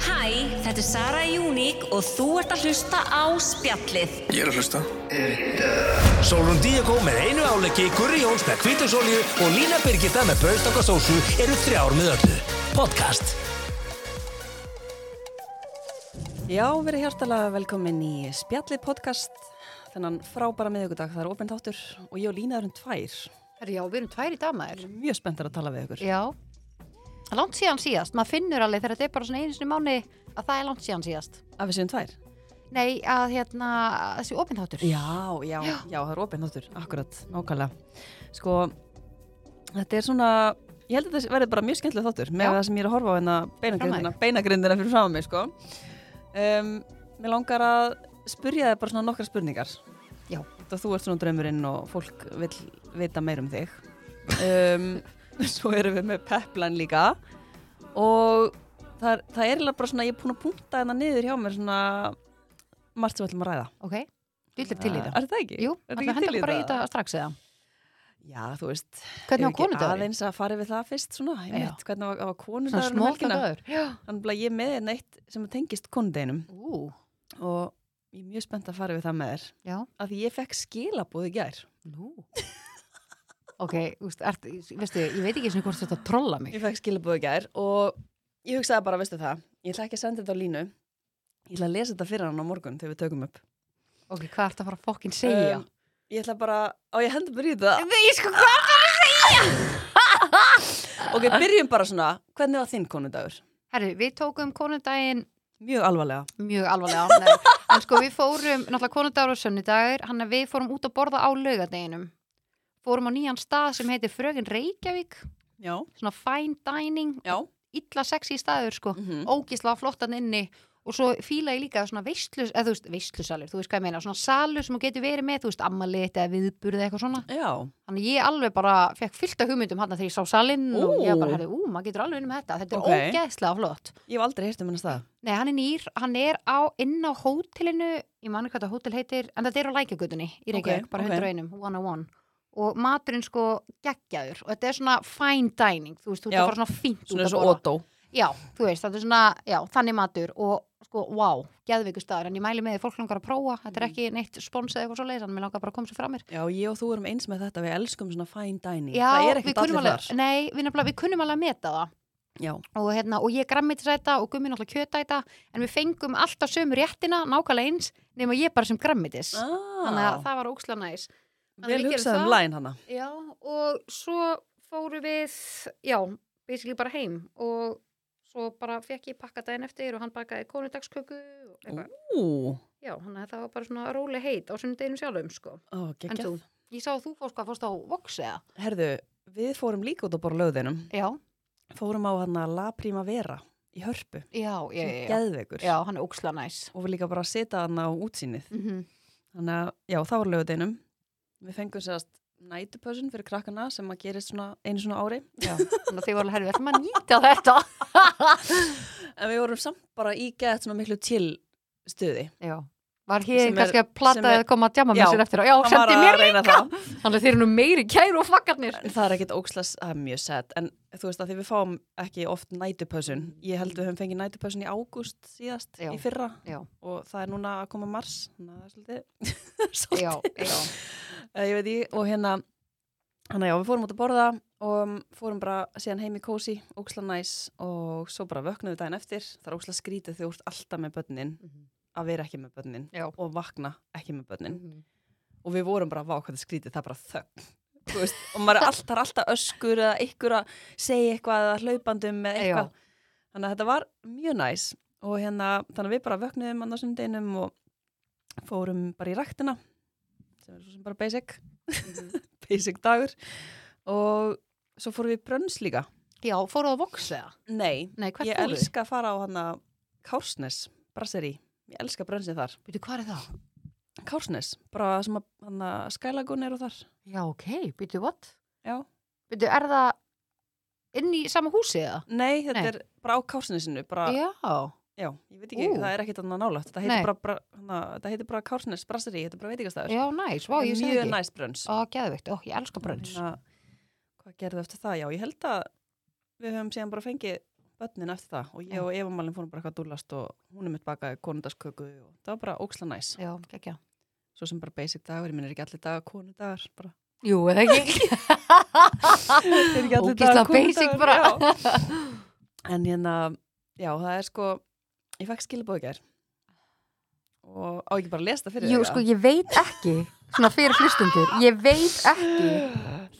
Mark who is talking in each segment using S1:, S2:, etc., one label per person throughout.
S1: þetta er Sara Júník og þú ert að hlusta á spjallið.
S2: Ég er að hlusta
S3: Sólrún Díakó með einu áleggi, Gurri Jóns með kvítusólju og Lína Birgitta með brauðstokkasósu eru þrjár með öllu. Podcast.
S4: Já, verið hjartalega velkomin í Spjallið podcast, þennan frábæra miðugudag, það er opinn þáttur og ég og Lína erum tvær,
S5: Herri, já, við erum tvær í dag maður.
S4: mjög spenntar að tala við ykkur.
S5: Já. Það er Langt síðan síðast, maður finnur alveg þegar þetta er bara svona einu sinni í mánuði að það er langt síðan síðast.
S4: Að við séum tvær?
S5: Nei, að hérna, þessi opinþáttur.
S4: Já, já, já, það er opinn þáttur, akkurat, nákvæmlega. Sko, þetta er svona, ég held að þetta verði bara mjög skemmtilega þáttur með
S5: Já.
S4: það sem ég er að horfa á hérna beinagrindina, beinagrindina fyrir fram mig, sko. Um, mér langar að spurja þið bara svona nokkra spurningar.
S5: Já.
S4: Þetta þú ert svona draumurinn og fólk vil vita meir um þig. Um, svo erum við með peplan líka og það, er- það er eiginlega bara svona, ég er búin að punta hérna niður hjá mér svona margt sem við ætlum að ræða.
S5: Ok, þú ætlir til í það.
S4: Ah, Er það ekki?
S5: Jú,
S4: er
S5: ætlum við hendum bara í það strax eða.
S4: Já, þú veist,
S5: Hvernig var
S4: ef ekki
S5: konudagurinn?
S4: aðeins að fara við það fyrst svona, einmitt, hvernig var, var
S5: Svona
S4: konudagurinn um
S5: smóta
S4: helgina?
S5: dagur. Já.
S4: Þannig að ég er með einn eitt sem tengist konudeginum
S5: Ú,
S4: og ég er mjög spennt að fara við það með þér.
S5: já.
S4: Af því ég fekk skilabóð í gær.
S5: Nú. ok, úst, ert, veistu, ég veit ekki svona hvort þetta trolla mig.
S4: Ég fekk skilabóð í gær og ég hugsaði bara, veistu það, ég ætla ekki að senda þetta á línu. Ég ætla að lesa þetta fyrir hann á morgun þegar við tökum upp.
S5: Ok, hvað ert að fara að fokkin segja?
S4: Um, ég ætla bara, á ég hendur bara í þetta.
S5: Nei, sko, hvað?
S4: Ok, byrjum bara svona, hvernig var þinn konudagur?
S5: Herri, við tókum konundaginn
S4: Mjög alvarlega.
S5: mjög alvarlega nei. en sko við fórum, náttúrulega konundagur og sönnudagur hann að við fórum út að borða á laugardeginum fórum á nýjan stað sem heitir Frögin Reykjavík
S4: Já.
S5: svona fine dining,
S4: Já.
S5: illa sexy staður sko, mm
S4: Mhm.
S5: -hmm. ógisla flottan inni og svo fíla ég líka svona veistlus, eða þú veist, veistlusalur, þú veist hvað ég meina svona salur sem þú getur verið með, þú veist, ammalit eða viðburð eða eitthvað svona,
S4: Já.
S5: þannig ég alveg bara fekk fyllt af hugmyndum hann þegar ég sá salinn og ég
S4: Ú.
S5: bara, herri, ú, maður getur alveg unnum þetta þetta er
S4: Ókei.
S5: ógeðslega flott
S4: Ég hef aldrei heyrt um hennar stað.
S5: Nei, hann er nýr, hann er á, inn á hótelinu, ég mani hvað það hótel heitir, en þetta er á lækjagutunni í Reykjavík,
S4: Ok,
S5: bara
S4: ok.
S5: 101, 101. Og maturinn sko geggjaður og þetta er svona fine dining, þú veist, þú
S4: Já.
S5: ert bara svona fínt
S4: Svona
S5: út
S4: eins
S5: að
S4: og
S5: borða.
S4: Otto.
S5: Já, þú veist, þetta er svona, já, þannig matur og sko, wow, geðveikur staður, en ég mæli með því fólk langar að prófa, þetta er
S4: Mm.
S5: ekki neitt spons eða eitthvað svo leiðis, en mér langar bara að koma sér fram mér.
S4: Já, ég og þú erum eins með þetta, við elskum svona fine dining.
S5: Já,
S4: það er
S5: við
S4: ekkert
S5: kunnum
S4: allir
S5: alveg,
S4: þar.
S5: nei, við, nefnilega- við kunnum alveg að meta það.
S4: Já.
S5: og, hérna, og ég grammiti sæta og gummi náttúrulega kjöta þetta en við fengum alltaf sömu réttina nákvæmlega eins nema ég bara sem grammitis
S4: Ah.
S5: þannig að það var óksla næs þannig að
S4: Vel
S5: við gerum
S4: hugsað um
S5: það.
S4: læn hana.
S5: já, og svo fóru við já, basically bara heim og svo bara fekk ég pakka daginn eftir og hann bakaði konudagsköku og eitthvað.
S4: Ú,
S5: já, þannig að það var bara svona róli heit á sunnudeginu sjálfum sko.
S4: ó,
S5: en
S4: geggjað.
S5: þú, ég sá að þú fórst hvað fórst á Vox eða
S4: Herðu, við fórum líka út að borða löðinum.
S5: já,
S4: Fórum á hann að La Primavera í Hörpu.
S5: já, já,
S4: sem
S5: já, já.
S4: Geðveikur.
S5: já hann er óksla næs
S4: Og við líka bara að setja hann á útsýnið.
S5: mm
S4: Þannig að, já, það var löðinum. Við fengum sérst nætupössun fyrir krakkana sem að gerist svona einu svona ári.
S5: Já, þannig að þið voru alveg herfið, við ætlum að nýta þetta.
S4: En við vorum samt bara í geðt svona miklu til stuði.
S5: Já, var hér
S4: Sem er-
S5: kannski að
S4: sem
S5: plata
S4: er-
S5: eða koma að djama með
S4: Já,
S5: sér eftir á. Já,
S4: Hann var
S5: sendi
S4: að
S5: mér
S4: reyna
S5: líka.
S4: það.
S5: Þannig að þeir eru nú meiri kæru og flaggarnir.
S4: En það er ekkit ókslas, það er mjög sett en þú veist að því við fáum ekki oft nætupössun ég held við höfum fengið nætupössun í ágúst síðast
S5: Já.
S4: í fyrra
S5: Já,
S4: og það er núna að koma mars þannig að það er svolítið,
S5: já,
S4: svolítið.
S5: já.
S4: Eh, ég veit ég og hérna hann að já, við fórum út að borða og um, fórum bara síðan heim í kósi óksla næs og svo bara vöknuðu daginn eftir það er óksla skrítið þegar þú ert alltaf með börnin
S5: Mhm.
S4: að vera ekki með börnin
S5: Já.
S4: og vakna ekki með börnin
S5: Mhm.
S4: og við vorum bara, vá, hvað það skrítið, það er bara þögn Þú veist, og maður er alltaf, alltaf öskur eða ykkur að segja eitthvað eða hlaupandum eða eitthvað þannig að þetta var mjög næs og hérna, þannig að við bara vöknuðum annars um deginum og fórum bara í ræktina sem er svo sem bara basic Mhm. basic dagur og svo fórum við í brönns líka
S5: Já, fóruð á Vox eða?
S4: nei,
S5: Nei, hvert
S4: ég
S5: fóruð þið?
S4: elska að fara á hana Kársnes, brasseri ég elska brönnsið þar,
S5: Býtu, hvað er það?
S4: Kársnes bara sem að hana, skælagun eru þar
S5: Já, ok, býtu, what?
S4: já
S5: Býtu, er það inn í sama húsi eða?
S4: Nei, þetta
S5: Nei.
S4: er bara á kársnesinu bara, já.
S5: Já.
S4: ég veit ekki,
S5: Ú.
S4: það er ekkit annað nálægt þetta
S5: Nei.
S4: heitir bara, bara, hana, þetta heitir bara kársnes, brasseri, þetta er bara veitingastæður
S5: Já, næs, vá, ég segi
S4: mjög Hérna,
S5: ekki.
S4: næst brönns
S5: Ó, geðvikt, ó, ég elska brönns.
S4: Hvað gerðu eftir það? Já, ég held að við höfum síðan bara fengið börnin eftir það og ég og Eva Malin fórum bara eitthvað að dúllast og hún er mitt bakaði konundasköku og það var bara óksla næs
S5: Já, ekki.
S4: svo sem bara basic dagur, ég minn er ekki allir dagar konudagar bara,
S5: Jú, eða ekki.
S4: er ekki allir
S5: Ógeðslega
S4: dagar
S5: basic bara.
S4: já. en hérna, já það er sko ég fekk skilabóð í gær og á ekki bara að lesa það fyrir
S5: Jú,
S4: þig,
S5: sko,
S4: eða?
S5: ég veit ekki, svona fyrir hlustundur, ég veit ekki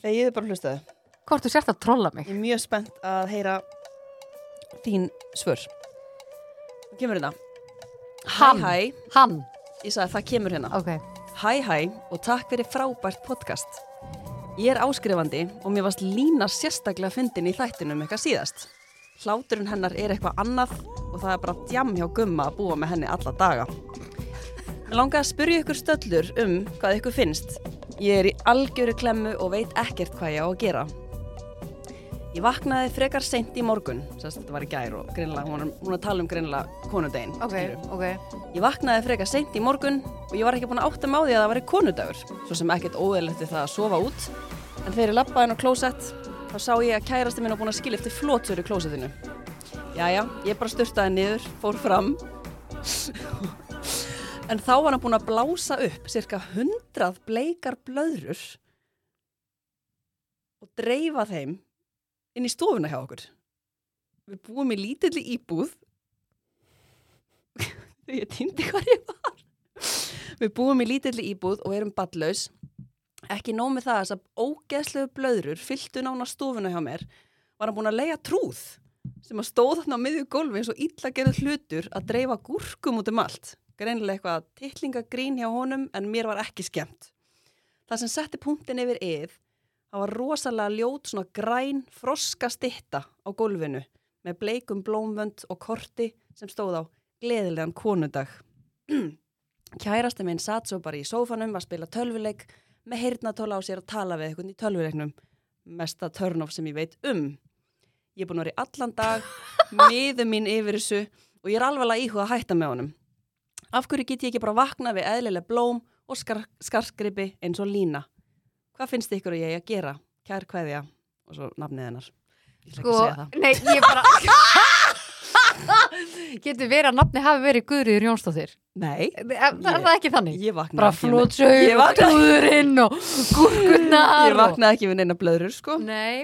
S4: þegiðu bara hlustaðu
S5: hvort þú sért að trolla mig.
S4: Ég er mjög spennt að heyra þín svör. Það kemur hérna.
S5: Hann.
S4: Hæ,
S5: Hann,
S4: hæ. Ég sagði það kemur hérna.
S5: ok.
S4: Hæ, hæ og takk fyrir frábært podcast. Ég er áskrifandi og mér varst lína sérstaklega fyndin í þættinum eitthvað síðast. Hláturinn hennar er eitthvað annað og það er bara djam hjá gumma að búa með henni alla daga. Mér langaði að spyrja ykkur stöllur um hvað ykkur finnst. Ég er í algjöru klemmu og veit ekkert hvað ég á að gera. Ég vaknaði frekar seint í morgun, sérst þetta var í gær og greinlega, hún er, hún er að tala um greinlega konudegin.
S5: ok.
S4: Ég vaknaði frekar seint í morgun og ég var ekki búin að átta mig á því að það væri konudagur, svo sem ekkert óeðlegt við það að sofa út. En þegar ég lappaði inn á klósett, þá sá ég að kærasti minn var búin að skilja eftir flótsur í klósettinu. Jæja, ég bara styrtaði niður, fór fram. en þá var hann búin að blása upp cirka hundrað bleikar blöðrur og dreifa þeim inn í stofuna hjá okkur. Við búum í lítilli íbúð Þegar ég týndi hvað ég var. Við búum í lítilli íbúð og erum ballaus. Ekki nóg með það að þessar ógeðslegu blöðrur fylltu nána stofuna hjá mér var hann búin að leia trúð sem að stóð þarna á miðju gólfi eins og illa gerðu hlutur að dreifa gúrkum út um allt. Greinilega eitthvað tittlingagrín hjá honum en mér var ekki skemmt. Það sem setti punktin yfir eð það var rosalega ljót svona græn froska stitta á gólfinu með bleikum blómvönd og korti sem stóð á gleðilegan konudag. Kærasti minn satt svo bara í sófanum að spila tölvuleik með heyrnatóla á sér að tala við eitthvað í tölvuleiknum. Mesta törnof sem ég veit um. Ég er búin að vera í allan dag, miður mín yfir þessu og ég er alveg að íhuga að hætta með honum. Af hverju get ég ekki bara vakna við eðlileg blóm og skar skarskripi eins og lína? Hvað finnst ykkur að ég eigi að gera? Kær kveðja og svo nafnið hennar. Ég ætla ekki
S5: Sko,
S4: að segja það.
S5: nei, ég bara... Getur verið að nafni hafi verið Guðriður Jónsdóttir.
S4: Nei, eh,
S5: Er er það ekki þannig?
S4: ég vakna
S5: Bara
S4: ekki með- Ég
S5: flótsauður og
S4: vakna-
S5: trúðurinn og gúrkunnar
S4: Ég vaknaði ekki við neina blöðrur sko
S5: og... Nei,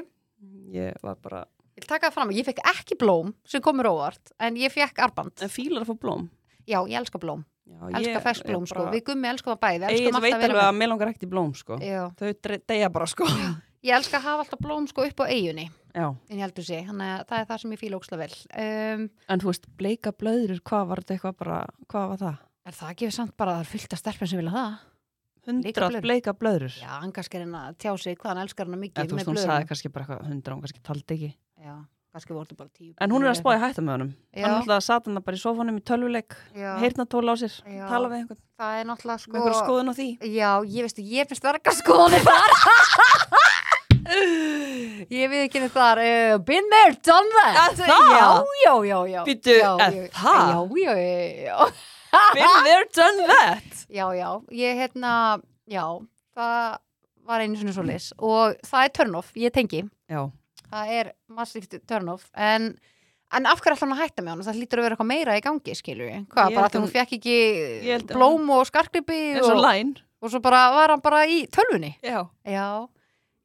S5: ég
S4: Ég var bara
S5: vil taka það fram. Ég fekk ekki blóm sem komur óvart, en ég fekk arband.
S4: En fílar að fá blóm
S5: Já, ég elska blóm.
S4: Já,
S5: Elska ferskblóm, sko. Við gummi elskum það bæði.
S4: Ég
S5: Elskum
S4: veit
S5: alltaf
S4: alveg
S5: vel
S4: að mér langar ekkert í blóm sko
S5: Já.
S4: Þau dre- deyja bara sko Já,
S5: Ég elska að hafa alltaf blóm sko upp á eigunni en ég heldur sé, þannig að það er það sem ég fíla óksla vel um,
S4: en þú veist, bleika blöðrur Hvað var þetta eitthvað bara, hvað var það?
S5: Er það ekki samt bara að það er fullt af stelpum sem vilja það? Bleika
S4: Hundrað
S5: blöðrur?
S4: bleika blöðrur
S5: Já, hann kannski er henn að tjá sig hvað hann elskar hana
S4: En
S5: mikið
S4: þú veist, hún
S5: blöðum.
S4: sagði kannski bara eitthvað hundrað Hún kannski taldi ekki
S5: Já, kannski voru þetta bara tíu
S4: En hún er að spáði hætta með honum
S5: Já.
S4: Hann ætlaði að satan bara í sofanum í tölvuleik
S5: Já.
S4: Heyrnatóla á sér,
S5: Já.
S4: tala við einhvern
S5: Það er náttúrulega sko
S4: Með einhverja skoðun á því
S5: Já, ég veistu, ég finnst verka skoðunir þar Ég við ekki henni þar uh, Been there, done that
S4: Er það?
S5: Já, já, já, já
S4: Bíddu,
S5: já,
S4: er
S5: ég-
S4: það?
S5: Já, já, já, já
S4: Been there, done that
S5: Já, já, ég hérna, já, það var einu svona svoleiðis og það er turn-off, ég tengi,
S4: Já,
S5: það er massíft turn-off, en, en af hverju ætla hann að hætta með hann? Það hlýtur að vera eitthvað meira í gangi, skilur ég.
S4: Ég
S5: Hvað,
S4: held að
S5: bara að hún
S4: hún-
S5: fekk
S4: Ég
S5: ekki
S4: held að
S5: blóm og skarkripi
S4: eins og
S5: og,
S4: læn
S5: og svo bara var hann bara í tölvunni.
S4: Já
S5: Já,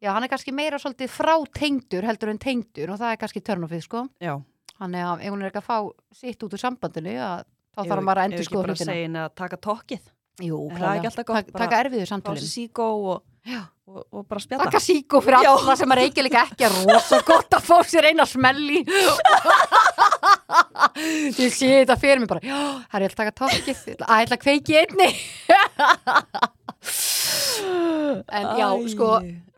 S5: já, hann er kannski meira svolítið frátengdur heldur en tengdur og það er kannski turn-offið, sko.
S4: Já,
S5: Þannig að ef hún er ekki að fá sitt út úr sambandinu, að, þá
S4: Ef-
S5: þarf hann bara
S4: ef
S5: að endur
S4: ekki
S5: skoða
S4: bara
S5: hlutina.
S4: segja henni að taka tokkið
S5: Jú,
S4: er það
S5: klálega.
S4: ekki alltaf gott
S5: Tak-
S4: bara-
S5: taka erfiðu samtölin.
S4: Fási síkó og,
S5: Já.
S4: og, og bara spjalla
S5: Takka síkó fyrir alla sem er ekki líka ekki rosa gott að fá sér eina smelli Ég sé þetta fyrir mig bara Já, það er ég ætla að taka tókið Æ, ég ætla að kveiki í einni En já, sko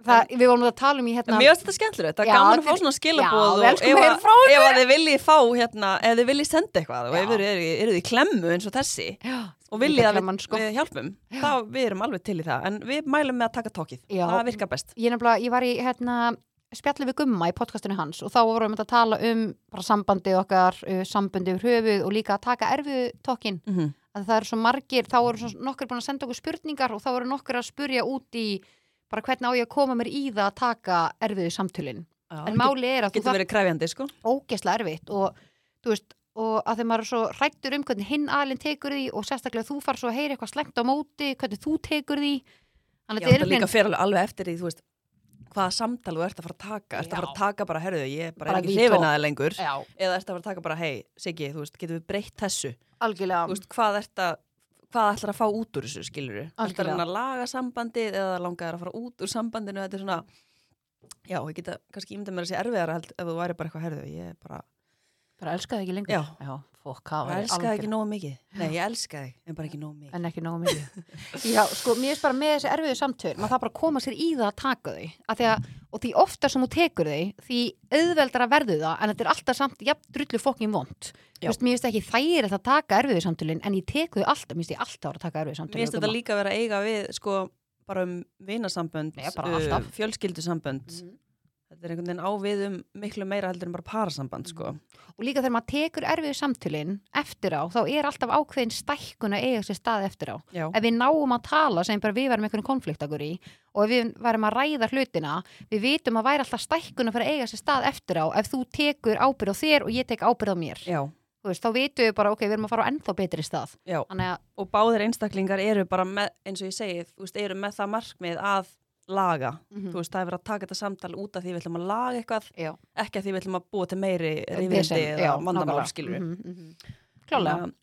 S5: það, Við vorum að tala um í
S4: En
S5: hérna
S4: Mér finnst þetta skemmtilegt, það er
S5: Já,
S4: gaman að
S5: þetta
S4: fá
S5: er-
S4: svona
S5: Já,
S4: skilabóð
S5: við
S4: og
S5: elskum
S4: ef,
S5: meira frá
S4: að- ef að þið viljið fá hérna, ef þið viljið senda eitthvað og
S5: Já.
S4: ef þið eru, eru þið klemmu eins og þessi
S5: Já,
S4: og viljið að
S5: klemman,
S4: við,
S5: sko.
S4: við hjálpum þá við erum alveg til í það, en við mælum með að taka tókið,
S5: Já.
S4: það virkar best
S5: Ég, nefnilega, ég var í hérna, spjalli við Gumma í podcastinu hans og þá vorum við að tala um bara sambandið okkar, uh, sambandið yfir höfuð og líka að taka erfiðu tókin
S4: mm -hmm.
S5: að það eru svo margir, þá eru svo nokkur búin að senda okkur spurningar og þá eru nokkur að spurja út í bara hvernig á ég að koma mér í það að taka erfiðu samtölin en máli er að þú
S4: Getur verið krefjandi, sko.
S5: ógesla erfitt og þú veist og að þegar maður er svo rættur um hvernig hinn aðlinn tekur því og sérstaklega þú far svo að heyra eitthvað slengt á móti, hvernig þú tekur því þannig
S4: Já,
S5: að þetta
S4: þetta
S5: er
S4: líka
S5: líka
S4: fer alveg, alveg eftir því, þú veist, hvaða samtal þú ert að fara að taka. Ert að fara að taka bara, herðu, ég er bara,
S5: Bara
S4: bara ekki
S5: vító.
S4: hrifin aðeins lengur.
S5: já,
S4: Eða ert að fara að taka bara, hei, Siggi, þú veist, getum við breytt þessu?
S5: algjörlega
S4: Þú veist, hvað ert að, hvað ætlar að fá út úr þessu, skilur við? Ætlar
S5: Algjörlega.
S4: hann að laga sambandið eða langar að fara út úr sambandinu? Þetta er svona, já, ég geta kannski ímynda mér að sé erfiðara held ef þú væri bara eitthvað, herðu, ég er bara,
S5: bara elskaði ekki lengur
S4: Já.
S5: fokk, það
S4: bara
S5: væri
S4: elskaði
S5: algjör-
S4: ekki nógu mikið. Nei, ég elskaði, en bara ekki nógu mikið.
S5: en ekki nógu mikið já, sko, mér finnst bara með þessi erfiðu samtöl maður þarf bara að koma sér í það að taka þau að því að, og því oftar sem þú tekur þau því auðveldar að verðu það en þetta er alltaf samt, jafn, drullu fokkin vond
S4: Já.
S5: þú veist, mér finnst ekki þægilegt að taka erfiðu samtölin en ég tek þau alltaf, mér finnst ég alltaf að taka erfiðu
S4: Mér
S5: samtölin
S4: finnst þetta líka vera að eiga við sko, bara um vinasambönd,
S5: Já, bara
S4: uh,
S5: alltaf. Mhm.
S4: fjölskyldusambönd þetta er einhvern veginn ávið um miklu meira heldur en bara parasamband
S5: Mhm.
S4: sko.
S5: og líka þegar maður tekur erfiðu samtölin eftir á, þá er alltaf ákveðin stækkun að eiga sér stað eftir á
S4: Já.
S5: ef við náum að tala sem bara við varum einhvern konfliktakur í og ef við varum að ræða hlutina við vitum að væri alltaf stækkun að fara að eiga sér stað eftir á ef þú tekur ábyrð á þér og ég tek ábyrð á mér
S4: Já,
S5: Þú veist, þá vitum við bara ok, við erum að fara á ennþá betri stað
S4: já.
S5: þannig að
S4: og báðir einstaklingar eru bara með, eins og ég segi, þú veist, eru með það markmið að laga,
S5: Mhm.
S4: þú veist, það er verið að taka þetta samtal út af því við ætlum að laga eitthvað
S5: já,
S4: ekki að því við ætlum að búa til meiri
S5: vesen,
S4: rifindi
S5: já,
S4: eða vandamál
S5: nákvæmlega.
S4: skilur
S5: Mhm, mhm. klálega,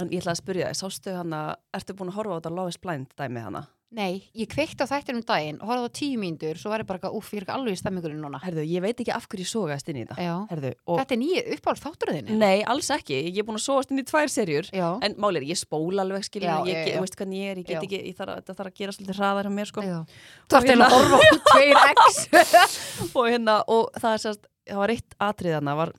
S4: En ég ætla að spyrja þig, sástu hana, ertu búin að horfa á þetta Love is Blind dæmi hana?
S5: nei, ég kveikt á þættir um daginn og horfði á tíu mínútur, svo var ég bara eitthvað, uff, ég er ekki alveg í stemmingurinn núna
S4: Herðu, ég veit ekki af hverju ég sogaðist inn í þetta.
S5: Ah. já.
S4: Herðu, og
S5: þetta er nýju uppáhald þátturðinni
S4: Nei, alls ekki. Ég er búin að sóast inn í tvær serjur.
S5: já,
S4: En málið er, ég spóla alveg, skilur,
S5: Já,
S4: já, ég,
S5: já,
S4: já,
S5: já.
S4: veist hvernig ég er, ég get
S5: Já.
S4: ekki, ég þarf, að- þetta þarf að gera svolítið hraðar á mér, sko.
S5: já.
S4: Og
S5: það er
S4: hérna-
S5: að horfa á tveir x
S4: og hérna, og það er sérst, það var eitt atrið hana, var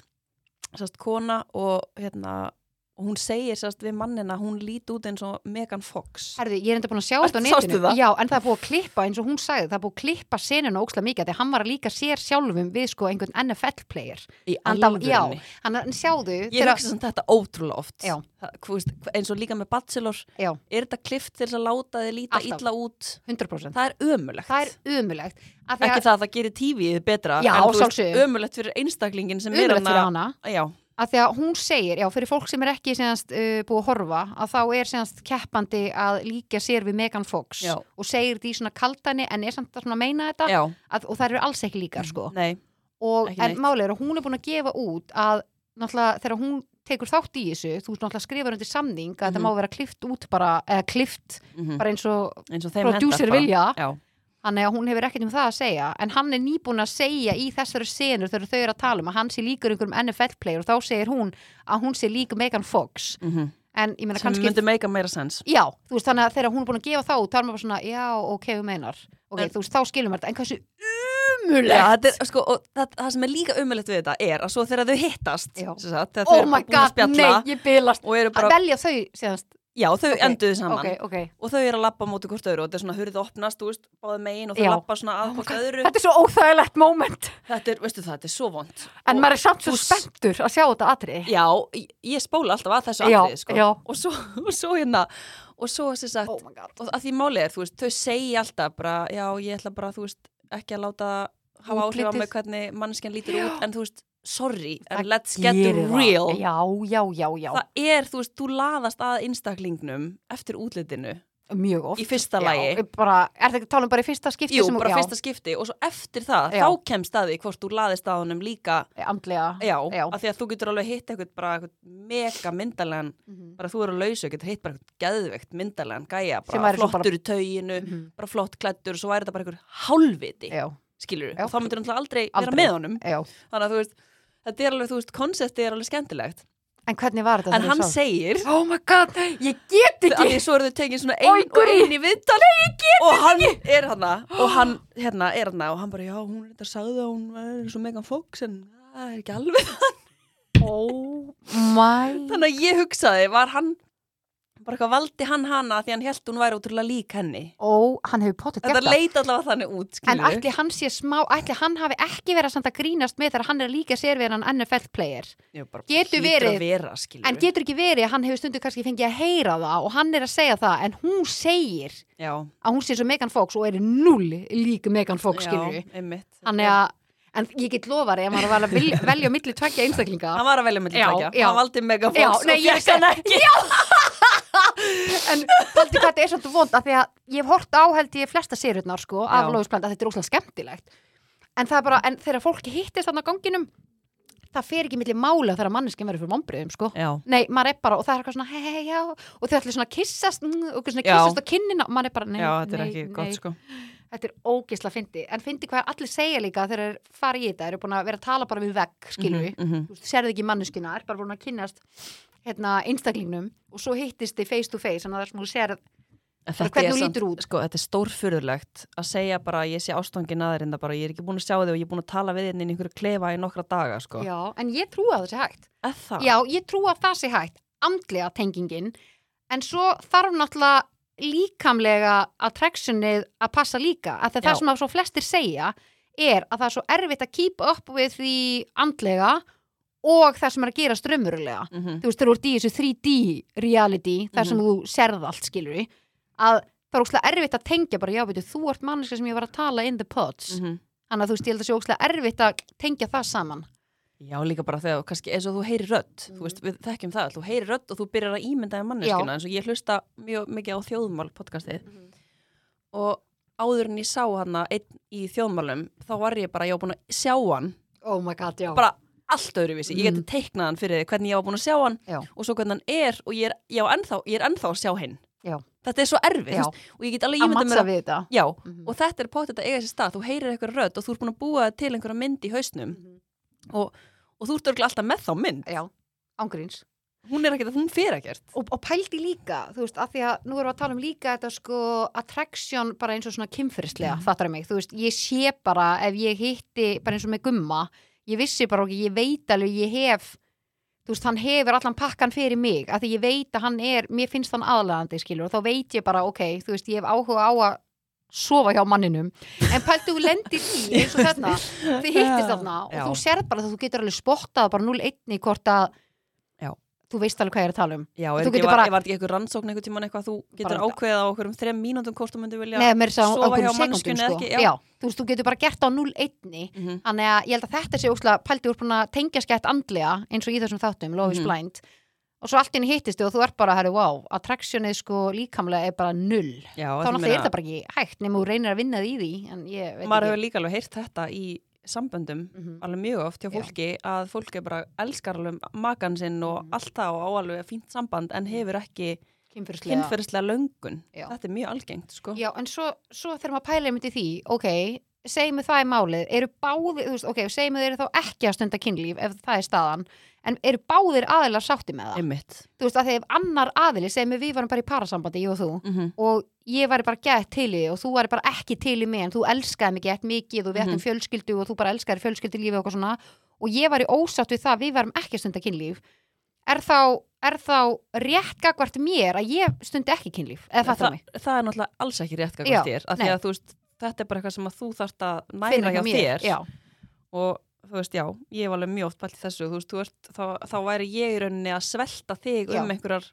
S4: sérst kona og hérna, og hún segir sérst við mannina, að hún líti út eins og Megan Fox.
S5: Herði, ég er enda búin að sjá þetta á
S4: Sástu
S5: netinu
S4: það?
S5: Já, en það er búið að klippa, eins og hún sagði, það er búið að klippa senuna ókslega mikið Þegar hann var að líka sér sjálfum við sko einhvern NFL-player
S4: Í
S5: Já,
S4: alvörunni.
S5: hann en sjáðu
S4: Ég
S5: þegar-
S4: hugsa sem þetta ótrúlega oft.
S5: Já.
S4: Það, hvað veist, hvað- eins og líka með Bachelor,
S5: Já,
S4: er þetta klift til þess að láta þið líta
S5: Alltaf.
S4: illa út?
S5: 100%
S4: Það er ömulegt.
S5: Það er umulegt
S4: ekki það að það gerir tífið betra
S5: Já,
S4: en þú veist,
S5: sjálfsögum.
S4: ömulegt fyrir einstaklingin sem er
S5: Umulegt fyrir
S4: hana,
S5: hana
S4: já,
S5: að því að hún segir, já, fyrir fólk sem er ekki senast, uh, búið að horfa, að þá er senast keppandi að líka sér við Megan Fox
S4: Já.
S5: og segir því svona kaldani en er samt að svona meina þetta
S4: já, Mm.
S5: að, og það eru alls ekki líkar sko
S4: nei
S5: og
S4: Ekki
S5: en
S4: neitt.
S5: málið er að hún er búin að gefa út að náttúrulega þegar hún tekur þátt í þessu þú veist náttúrulega skrifar undir samning að þetta
S4: Mhm.
S5: má vera klift út bara, eða klift
S4: Mhm.
S5: bara eins og
S4: eins og þeim
S5: prodúsir
S4: hentar bara.
S5: vilja
S4: já,
S5: þannig að hún hefur ekkert um það að segja en hann er nýbúin að segja í þessari senur þegar þau eru að tala um að hann sé líkur einhverjum NFL player og þá segir hún að hún sé líka Megan Fox
S4: mm
S5: en ég meina
S4: sem
S5: kannski
S4: myndi meika meira sens
S5: Já, þú veist þannig að þegar hún er búin að gefa þá út, þá er maður bara svona, já, ok, þú meinar ok,
S4: En-
S5: þú veist, þá skilum við þetta, en hversu
S4: já,
S5: umulegt
S4: þetta er, sko, og það, það sem er líka ömulegt við þetta er að svo þegar þau hittast
S5: Já.
S4: sem sagt, þegar þau
S5: Oh
S4: eru
S5: my
S4: búin að
S5: god,
S4: spjalla
S5: nei, ég bylast
S4: og eru
S5: að
S4: bara,
S5: velja þau síðanst
S4: já, þau
S5: Ok,
S4: enduðu saman
S5: ok, ok
S4: og þau eru að labba á móti hvort öðru og þetta er svona hurðið opnast, þú veist, báðu megin og þau
S5: Já. Oh
S4: labba svona að hvort öðru
S5: Þetta er svo óþægilegt moment
S4: þetta er, veistu það, þetta er svo vond
S5: en maður er samt svo
S4: þú s-
S5: spenntur að sjá þetta atri
S4: Já, ég- ég spóla alltaf að þessu
S5: Já,
S4: atriði sko.
S5: já.
S4: og, svo, og svo hérna og svo sem sagt
S5: Oh my god.
S4: og að því málið er, þú veist, þau segja alltaf bara, já, ég ætla bara, þú veist, ekki að láta hafa áhrif á
S5: Útlitið.
S4: mig hvernig manneskjan lítur út, en þú veist, sorry
S5: Það
S4: en let's get
S5: Gerir það.
S4: real
S5: Já, já, já, já,
S4: það er, þú veist, þú laðast að einstaklingnum eftir útlitinu
S5: mjög oft
S4: í fyrsta
S5: já,
S4: lagi
S5: bara, Er þetta að tala um bara í fyrsta skipti
S4: Jú,
S5: sem,
S4: bara
S5: já,
S4: fyrsta skipti og svo eftir það,
S5: Já.
S4: þá kemst að því hvort þú laðist að honum líka
S5: Andlega
S4: Já,
S5: Já.
S4: af því að þú getur alveg hitt eitthvað bara eitthvað mega myndarlegan
S5: Mhm.
S4: bara þú eru að lausa, getur hitt bara eitthvað geðveikt myndarlegan gæja,
S5: Sem
S4: bara
S5: væri svo
S4: flottur
S5: bara-
S4: í tauginu
S5: Mhm.
S4: bara flott klættur og svo væri þetta bara eitthvað hálfviti,
S5: Já,
S4: skilur
S5: Já.
S4: og þá myndir náttúrulega aldrei,
S5: Aldrei.
S4: vera með honum
S5: já
S4: þannig að þú veist, þetta er alveg, þú veist, konceptið er alveg skemmtilegt,
S5: En hvernig var þetta?
S4: en
S5: þegar
S4: hann
S5: þú sá-
S4: segir
S5: Oh my god, ég get
S4: af
S5: ekki
S4: því svo eru þau tekin svona ein og
S5: guð.
S4: ein í viðtal Nei, og hann er hana og hann hérna, er hana og hann bara, já, hún er þetta sagði að hún er svo megan fóks en það er ekki alveg
S5: Oh my
S4: Þannig að ég hugsaði, var hann bara eitthvað valdi hann hana því hann held hún væri ótrúlega lík henni
S5: Ó, hann hefur potið gert
S4: Þetta
S5: það
S4: leit allavega þannig út,
S5: En
S4: skilur
S5: ætli hann sé smá, ætli hann hafi ekki verið samt að grínast með þegar hann er líka sér við hann NFL player getur verið-
S4: að vera, skilur
S5: En getur ekki verið að hann hefur stundu kannski fengið að heyra það og hann er að segja það en hún segir
S4: Já,
S5: að hún sé svo Megan Fox og er null lík Megan
S4: já,
S5: Fox skilur við.
S4: einmitt
S5: Þannig að, en ég get lofað þér ef maður var að velja, velja á milli tveggja einstaklinga
S4: Hann var að velja milli
S5: Já,
S4: tækja,
S5: já.
S4: hann valdi
S5: Já,
S4: Megafox
S5: nei,
S4: og
S5: ég
S4: fekk hann ekki
S5: en haldi hvað þetta er svolítið vond af því að ég hef hort á held ég flesta sérhundnar sko af
S4: Já.
S5: Lóis Blanda, þetta er óslega skemmtilegt en það er bara, en þegar fólki hittist þarna á ganginum það fer ekki milli mála þegar manneskinn verður fyrir mombriðum sko
S4: Já,
S5: Nei, maður er bara, og það er eitthvað svona, hei, hei, já, og þau ætlir svona að kyssast, mm, og eitthvað svona
S4: Já.
S5: kyssast á kinnina, og maður er bara, nei,
S4: já, þetta er
S5: nei,
S4: ekki
S5: nei,
S4: gott sko
S5: þetta er ógisla fyndi, en fyndi hvað allir segja líka þegar þeir fara í þetta, þeir eru búin að vera að tala bara við vegg, skilur við,
S4: Mhm, mhm.
S5: þú veist, sérðu ekki manneskina, er bara búin að kynnast hérna, einstaklingnum og svo hittist þið face to face, þannig að það er sem þú sérð,
S4: En
S5: Bara
S4: þetta er
S5: hvernig þú
S4: samt-
S5: lítur út.
S4: Sko, þetta er stórfurðulegt að segja bara að ég sé ástangin aðeir en það bara, ég er ekki búin að sjá þig og ég er búin að tala við þig inn í einhverju klefa í nokkra daga, sko.
S5: já, en ég trúi að það sé hægt,
S4: Er það?
S5: já, ég trúi að það sé hægt, andlega tengingin, en svo þarf náttúrulega líkamlega attractionið að passa líka, af því að
S4: Já.
S5: það sem að svo flestir segja er að það er svo erfitt að keep up with því andlega og það sem er að gera strömmurulega.
S4: Mhm.
S5: þú veist, þegar þú ert í þessu 3D reality, þar sem þú serð allt, skilur við, að það er ókslega erfitt að tengja bara, já, veitu, þú ert manneska sem ég var að tala in the pods,
S4: Mhm.
S5: þannig að þú veist, ég held að sé ókslega erfitt að tengja það saman.
S4: Já, líka bara þegar, kannski, eins og þú heyrir rödd, þú veist, við þekkjum það, þú heyrir rödd og þú byrjar að ímynda þér manneskina,
S5: Mhm. Já. Mhm.
S4: eins og ég hlusta mjög mikið á þjóðmál podcastið og áður en ég sá hana einn í þjóðmálum, þá var ég bara, ég var búin að sjá hann,
S5: Oh my god, já.
S4: bara allt öðruvísi, ég geti teiknað hann fyrir þig, hvernig ég var búin að sjá hann
S5: Mm. Já.
S4: og svo hvernig hann er og ég er, ég á ennþá, ég er ennþá að sjá hinn.
S5: Já.
S4: Þetta er svo erfið,
S5: Já.
S4: þú veist, og ég get alveg
S5: að
S4: ímyndað mér
S5: mattsa
S4: að,
S5: við Mhm. þetta.
S4: já, og þetta er potið að eiga sér stað, þú heyrir eitthvað rödd og þú ert búin að búa til einhverja mynd í hausnum
S5: Mhm.
S4: og, og þú ert örgulega alltaf með þá mynd,
S5: Já, ángríns.
S4: hún er ekkert, hún fyrir ekkert.
S5: Og, og pældi líka, þú veist, af því að nú erum við að tala um líka þetta sko attraction bara eins og svona kynfyrslega,
S4: Mhm.
S5: fattar mig, þú veist, ég sé bara ef ég hitti bara eins og með gumma, ég vissi bara okkur, ég veit alveg, ég hef, þú veist, hann hefur allan pakkan fyrir mig, af því ég veit að hann er, mér finnst hann aðlegandi, skilur, og þá veit ég bara, ok, þú veist, ég hef áhuga á að sofa hjá manninum, en pældu þú lendir í eins og þarna, þið hittist þarna
S4: Já.
S5: og þú serð bara að þú getur alveg spottað bara 0-1 hvort að
S4: Já.
S5: þú veist alveg hvað ég er að tala um
S4: Já,
S5: Og
S4: er
S5: þú
S4: ekki,
S5: getur
S4: var,
S5: bara-
S4: bara, var ekki eitthvað rannsókn einhver tíman eitthvað, þú getur
S5: Bara-
S4: ákveðið á okkur um þrem mínútum hvort þú myndir vilja
S5: Nei, mér sá
S4: sofa hjá
S5: ákveðum sekundum
S4: manneskjunni eða
S5: sko.
S4: ekki,
S5: já.
S4: já.
S5: þú veist, þú getur bara gert á 0-1
S4: Mhm.
S5: Þannig að ég held að þetta sé úrslega pældi úr búin að tengja skætt andlega eins og í þessum þáttum,
S4: Mhm.
S5: Lofis Blind og svo allt inn hittistu og þú ert bara, herri, wow attractionið sko líkamlega er bara null
S4: Já, þetta
S5: þá náttúrulega
S4: meina-
S5: er það bara ekki hægt nema þú reynir að vinna því í því en ég veit
S4: maður hefur
S5: ekki Mhm.
S4: líka alveg heyrt þetta í samböndum alveg mjög oft hjá
S5: Já.
S4: fólki að fólk er bara elskar alveg makan sinn og
S5: Mhm.
S4: allt það og á alveg fínt samband en hefur ekki
S5: kynferðislega
S4: kynferðislega löngun
S5: Já.
S4: þetta er mjög algengt sko
S5: Já, en svo, svo þegar maður pæla einmitt í því, ok, segjum við það í málið, eru báðir, þú veist, ok, segjum við þeir eru þá ekki að stunda kynlíf ef það er staðan, en eru báðir aðilar sátti með það?
S4: einmitt
S5: Þú veist, að þegar annar aðili, segjum við við varum bara í parasambandi, ég og þú,
S4: mm
S5: og ég væri bara gett til í þig og þú væri bara ekki til í mig en þú elskaði mig gett mikið og við ættum
S4: Mhm.
S5: fjölskyldu og þú bara elskaði fjölskyldulífi og eitthvað svona og ég væri ósátt við það, við værum ekki að stunda kynlíf er þá, er þá rétt gagvart mér að ég stundi ekki kynlíf eða fattar
S4: það,
S5: mig
S4: það er náttúrulega alls ekki rétt
S5: Já,
S4: gagvart þér af því
S5: nei.
S4: að þú veist þetta er bara eitthvað sem að þú þarft að
S5: Finna
S4: næra hjá
S5: hjá mér,
S4: þér
S5: já.
S4: og þú veist já, ég hef alveg mjög oft pælt í þessu þú veist, þú ert, þá, þá væri ég í rauninni að svelta þig
S5: Já.
S4: um einhverjar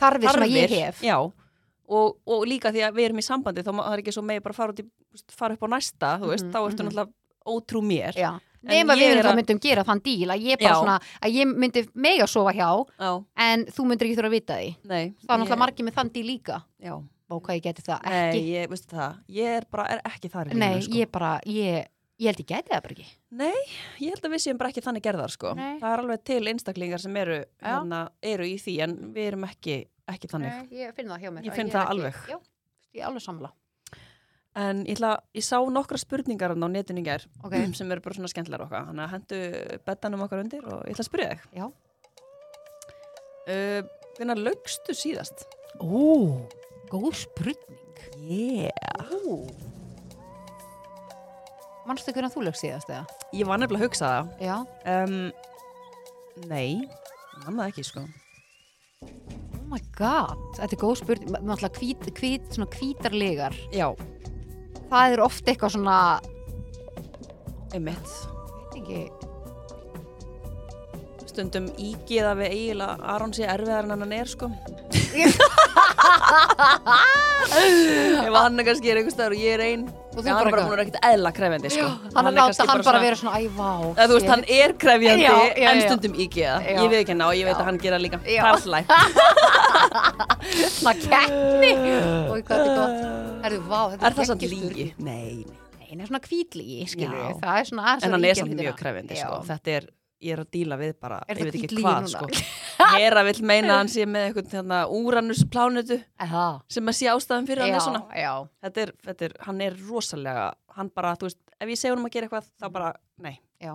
S5: þarfir sem að ég
S4: þarfir.
S5: hef
S4: já, og, og líka því að við erum í sambandi þá má- það er ekki svo megi bara fara, út í, þú veist, fara upp á næsta þú veist,
S5: Mhm,
S4: þá ertu
S5: mhm.
S4: náttúrulega ótrú mér
S5: Já.
S4: En
S5: nema
S4: ég
S5: við
S4: er
S5: erum það
S4: að-
S5: myndum gera þann díl að ég bara
S4: Já.
S5: svona að ég myndi mega sofa hjá
S4: já,
S5: en þú myndir ekki þurfa að vita því
S4: nei
S5: það er náttúrulega
S4: ég-
S5: margir með þann díl líka
S4: já,
S5: og hvað ég geti það
S4: nei,
S5: ekki
S4: ég, veistu það ég er bara er ekki þar í
S5: nei,
S4: lífinu, sko.
S5: ég bara, ég, ég held ég geti það bara ekki
S4: nei, ég held að við séum bara ekki þannig gerðar sko.
S5: Nei.
S4: það er alveg til einstaklingar sem eru,
S5: Já.
S4: hérna, eru í því en við erum ekki, ekki þannig
S5: ég finn það hjá mér
S4: Ég finn það alveg.
S5: já, ég er alveg samla
S4: En ég, ætla, ég sá nokkra spurningar þarna á netinu í gær
S5: Ok.
S4: sem eru bara svona skemmtilegar okkar. Þannig að hendu betanum okkar undir og ég ætla að spyrja þig.
S5: Já.
S4: Uh, Hvernig lögstu síðast?
S5: ó, góð spurning
S4: Yeah.
S5: ó mannstu hvernig þú lögst síðast eða?
S4: Ég var nefnilega að hugsa það.
S5: já,
S4: Um, nei, mann það ekki sko.
S5: oh my god þetta er góð spurning, Ma- náttúrulega hvít, hvít svona hvítarlegar,
S4: Já,
S5: það er oft eitthvað svona
S4: einmitt.
S5: veit ekki,
S4: Stundum ígeða við eiginlega Aron sé erfiðar en hann er sko. Ef hann er kannski er einhver staðar og ég er einn,
S5: Og þú
S4: Já, hann er
S5: bara
S4: bara
S5: eitthvað.
S4: hún er ekkert eðla krefjandi sko.
S5: hann er
S4: kannski
S5: láta hann bara
S4: svona-
S5: vera svona, æ, vá
S4: Eða, þú veist, hann er krefjandi
S5: Já, já,
S4: en
S5: já.
S4: stundum ígeða
S5: Já.
S4: ég veit ekki ná, ég veit
S5: Já.
S4: að hann gera líka
S5: Já.
S4: það er alltaf lægt
S5: svona keppni og hvað þetta er gott Herðu, vá, þetta
S4: er það samt
S5: geggjustur.
S4: lígi? Nei, nei.
S5: Nei, hann er svona kvítlígi, skilur
S4: Já.
S5: við það er svona aðeins
S4: en
S5: að
S4: hann er
S5: ýkja
S4: samt
S5: hlutina.
S4: mjög krefjandi sko.
S5: Já.
S4: þetta er, ég er að díla við bara ég
S5: Er það
S4: veit ekki
S5: hvít lygi
S4: hvað
S5: núna?
S4: sko. Hera vill meina að hann sé með einhvern hérna, Úranus plánutu
S5: Eha.
S4: sem að sé ástæðan fyrir hann er svona
S5: já,
S4: þetta er, þetta er, hann er rosalega hann bara, þú veist, ef ég segi honum að gera eitthvað þá bara, nei,
S5: já,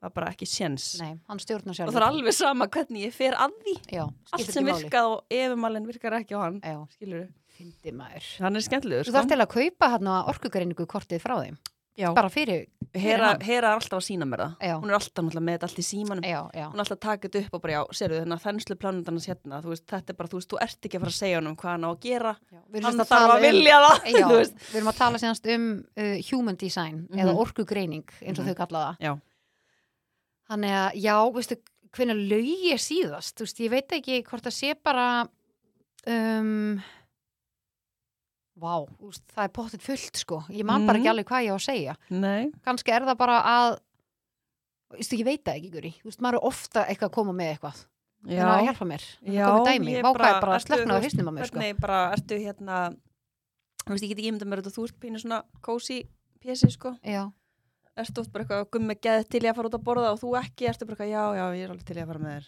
S4: það er bara ekki séns
S5: nei, hann stjórnar sjálf
S4: og það er alveg sama hvernig ég fer að því
S5: já,
S4: allt sem virkað og efumalinn virkar ekki á hann
S5: já,
S4: skilur
S5: fyndi maður
S4: hann er skemmtilegur
S5: þú
S4: sko.
S5: þarf til að kaupa hann á orkugreiningu kortið frá þeim
S4: Já.
S5: bara fyrir,
S4: Hera,
S5: hann.
S4: Hera er alltaf að sína mér það
S5: Já.
S4: hún er alltaf náttúrulega með þetta allt í símanum
S5: já, já
S4: hún er alltaf að taka þetta upp og bara já, sérðu þennan þenslu plánundarnas hérna þú veist, þetta er bara, þú veist, þú ert ekki að fara að segja honum hvað hann á að gera
S5: Já, við erum
S4: hann
S5: sem sagt
S4: þarf að,
S5: tala um-
S4: vilja það
S5: Já,
S4: þú veist.
S5: við erum að tala sérnast um uh, human design eða orkugreining eins og
S4: Mhm.
S5: þau kalla það
S4: Já.
S5: Þannig að, já, veistu, hvernig laug ég síðast, þú veist, ég veit ekki hvort það sé bara um, vá, þú veist, það er pottit fullt sko, ég man bara
S4: Mhm.
S5: ekki alveg hvað ég á að segja
S4: nei,
S5: kannski er það bara að þú veist, ég veit það ekki, Guri þú veist, maður er ofta eitthvað að koma með eitthvað
S4: já,
S5: en að hjálpa mér,
S4: já
S5: komið dæmi,
S4: ég
S5: vá hvað er bara
S4: ertu, þú
S5: slöknað á
S4: veist,
S5: hausnum á mér sko,
S4: hvernig bara, ertu hérna þú veist, ég get ekki ímynda mér þetta þú ert pínu svona kósi pési, sko
S5: já,
S4: ertu oft bara eitthvað gummi geð til ég að fara út að borða og þú ekki, ertu bara eitthvað, já, já, ég er alveg til ég að fara með þér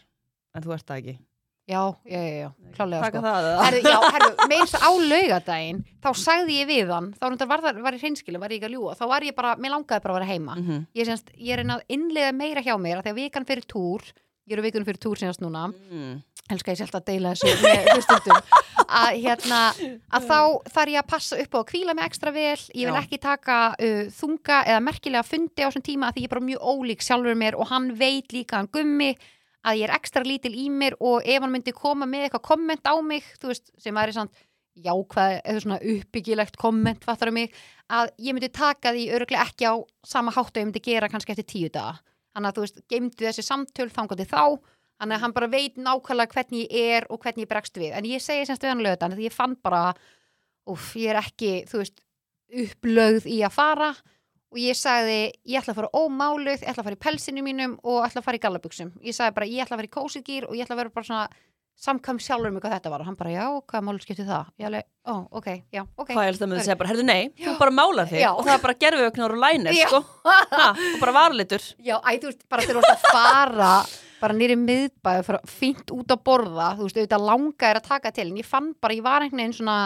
S4: en þú ert það ekki
S5: já, já, já, já klálega sko
S4: taka það eða?
S5: Herðu, já, herðu, meins á laugadaginn þá sagði ég við hann, þá reyndar var, það- var ég hreinskilin, var ég ekki að ljúa, þá var ég bara mér langaði bara að vera heima,
S4: Mhm.
S5: ég, senst, ég reyna að innlega meira hjá mér, að því að vikan fyrir túr ég er vikan fyrir túr senast núna
S4: Mm.
S5: elska ég sjálf að deila þessu með hlustundum að hérna að þá þarf ég að passa upp á að kvíla mig ekstra vel ég vil
S4: Já.
S5: ekki taka uh, þunga eða merkilega fundi á þessum tíma að því ég er bara mjög ólík sjálfur mér og hann veit líka hann gummi að ég er ekstra lítil í mér og ef hann myndi koma með eitthvað komment á mig þú veist, sem er svona jákvæð eða svona uppbyggilegt komment fattar mig, að ég myndi taka því öruglega ekki á sama hátt og ég myndi gera kannski eftir tíu daga þannig að þú veist, geimdu þessi samtöl þangandi þá þannig að hann bara veit nákvæmlega hvernig ég er og hvernig ég bregst við, en ég segi semst við hann lögðan því ég fann bara, uff, ég er ekki þú veist, upplögð í að fara og ég sagði ég ætla að fara ómáluð, ég ætla að fara í pelsinu mínum og ætla að fara í gallabuxum ég sagði bara, ég ætla að fara í kósigýr og ég ætla að vera bara svona samkvæm sjálfur mig hvað þetta var og hann bara, já, hvað máli skipti það? Ég alveg, ó, ok, já, ok
S4: Hvað er þetta með að segja bara, herðu nei, þú bara málar þig
S5: Já.
S4: og það er bara gerfiöknar og lænir,
S5: Já.
S4: sko. Ha, og bara varlitur.
S5: Já, æ, þú veist, bara þegar þú ert að fara bara nýri miðbæð og fara fínt út að borða, þú veist, auðvitað langa er að taka til, en ég fann bara, ég var einhvern veginn svona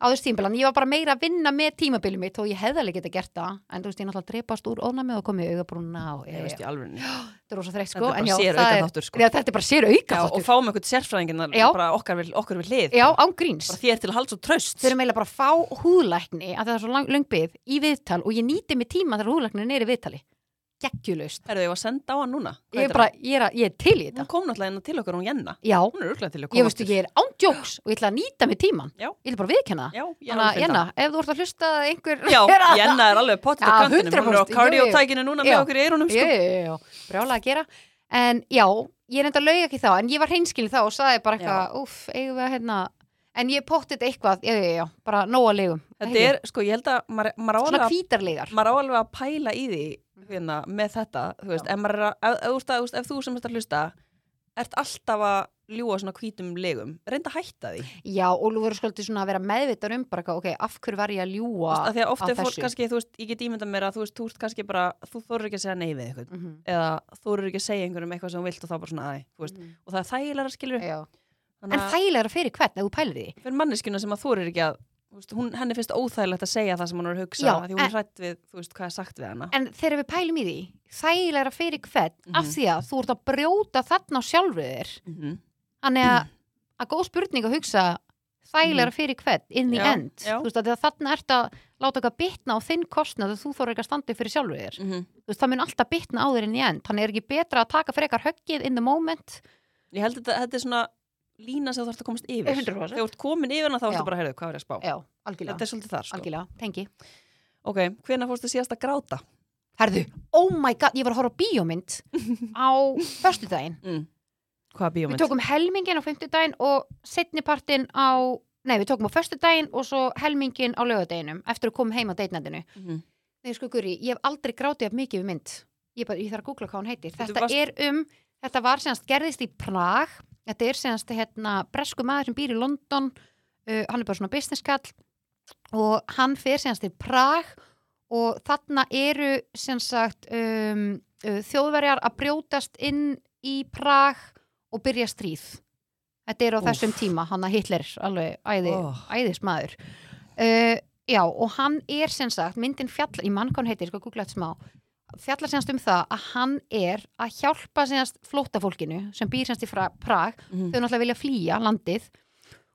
S5: á þessu tímabilan, ég var bara meira að vinna með tímabilið mitt og ég hefði alveg getað gert það en þú veist, ég náttúrulega drepast úr óna og komið augabrúna og
S4: Ég veist
S5: þetta
S4: ég alveg niður.
S5: er rosa þreytt,
S4: Þetta
S5: sko
S4: er bara
S5: en já,
S4: sér
S5: það er-
S4: aukaþáttur, sko.
S5: Já, þetta er bara sér auka
S4: Já, og fáum einhvern sérfræðingin að
S5: Já.
S4: bara okkar við, okkar við hlið.
S5: Já, án gríns
S4: Bara þér til að halda svo tröst.
S5: Þau eru meila bara að fá húðlækni að það er svo lang, langbið í viðtal og ég nýti mig tíma þegar húðlæknin er í viðtali geggjulust
S4: Herðu, ég var að senda á hann núna. Hvað
S5: ég er
S4: heitir
S5: bara,
S4: hann?
S5: ég er, að, ég er til í þetta
S4: Hún kom náttúrulega inn til okkar, hún Jenna.
S5: Já,
S4: Hún er örglega til að koma.
S5: ég veistu
S4: aftur.
S5: ég er ándjóks og ég ætla að nýta mig tíman
S4: Já.
S5: ég ætla bara að viðkenna það
S4: Já, ég er
S5: þannig að
S4: alveg
S5: Jenna,
S4: fylgd.
S5: ef þú ert að hlusta að einhver
S4: Já,
S5: er að-
S4: Jenna er alveg potið á
S5: Já,
S4: kantinum. Hún er á
S5: 100%, jú, jú.
S4: kardiotækinu núna með
S5: Já.
S4: okkur í eirunum,
S5: Jú,
S4: sko.
S5: jú, jú, jú, brjálega að gera en já, ég reynda að lauga ekki þá en ég var hreinskilin þá og sagði bara eitthvað uff, eigum við að hérna en ég pottið eitthvað, já, já, já, bara nóga legum
S4: Þetta er, sko, ég held að maður- maður á alveg
S5: svona
S4: að
S5: hvítarlegar
S4: maður á alveg að pæla í því
S5: Mhm.
S4: hérna, með þetta, þú veist, ef, maður er að, ef, ef, þú veist, að- þú veist, ef þú sem ert að hlusta ert alltaf að ljúa svona hvítum legum, reynda að hætta því þú
S5: já, og þú verður skoltið svona að vera meðvitað um bara, eitthvað, ok, af hverju var ég að ljúa
S4: veist, af því að oft
S5: að
S4: er fólk
S5: þessu.
S4: kannski, þú veist, ég get ímyndað mér að þú veist, þú ert kannski bara, þú þorur ekki að segja nei við eitthvað,
S5: mm
S4: eða þorur ekki að segja einhverjum eitthvað sem þú vilt og þá bara svona, æ, þú veist
S5: Mhm.
S4: og það er þægilega skilur,
S5: en þægilega fyrir hvern, ef þú pælir því
S4: fyrir manneskjuna sem að þorur ekki að þú Veist, hún, henni finnst óþægilegt að segja það sem hún er að hugsa
S5: Já,
S4: af því hún er
S5: en-
S4: hrætt við, þú veist, hvað er sagt við hana
S5: en þegar við pælum í því þægilegra fyrir hvern af
S4: Mhm.
S5: því að þú ert að brjóta þarna á sjálfu þér
S4: mm -hmm.
S5: þannig að, að góð spurning að hugsa þægilegra fyrir hvern in the
S4: Mhm. Já,
S5: end
S4: já.
S5: Þú veist, að þarna ert að láta eitthvað bitna á þinn kostnað að þú þóra ekki að standa upp fyrir sjálfu þér
S4: Mm
S5: Þú veist, það mun alltaf bitna á þér in the end þannig er ekki betra að taka frekar höggið in the moment
S4: Ég held að þetta, þetta er svona lína sem þú þarfst að komast yfir.
S5: 100%.
S4: Þegar þú ert komin yfir hana þá
S5: Eh, Já.
S4: ertu bara að heyrðu hvað er ég að spá.
S5: já, algjörlega,
S4: Þetta er svolítið þar sko.
S5: algjörlega, tengi
S4: Ok, hvenær fórstu síðast að gráta?
S5: herðu, oh my god, ég var að horfa á bíómynd á föstudaginn
S4: Mm. Hvaða bíómynd?
S5: Við tókum helmingin á fimmtudaginn og setnipartin á nei við tókum á föstudaginn og svo helmingin á lögadeginum eftir að koma heim á deitnættinu
S4: Mhm.
S5: Nei, sko, Guri, ég hef aldrei grátið af mikið við mynd. Ég, bara, ég þarf að googla hvað hún heitir.
S4: Þetta
S5: Þetta
S4: varst-
S5: er um, þetta var senast, gerðist í Prag. Þetta er senast, hérna, bresku maður sem býr í London. Uh, hann er bara svona business kall og hann fer senast til Prag og þarna eru sem sagt um, uh, þjóðverjar að brjótast inn í Prag og byrja stríð. Þetta er á
S4: Úff.
S5: þessum tíma, hann að Hitler, alveg æði,
S4: Oh.
S5: æðis maður. Uh, já, og hann er sem sagt, myndin fjallar, í mannkon heitir, sko, googla þetta smá, fjallar semst um það að hann er að hjálpa semst flóttafólkinu sem býr semst í Fra- Prag,
S4: Mhm.
S5: þau náttúrulega vilja flýja landið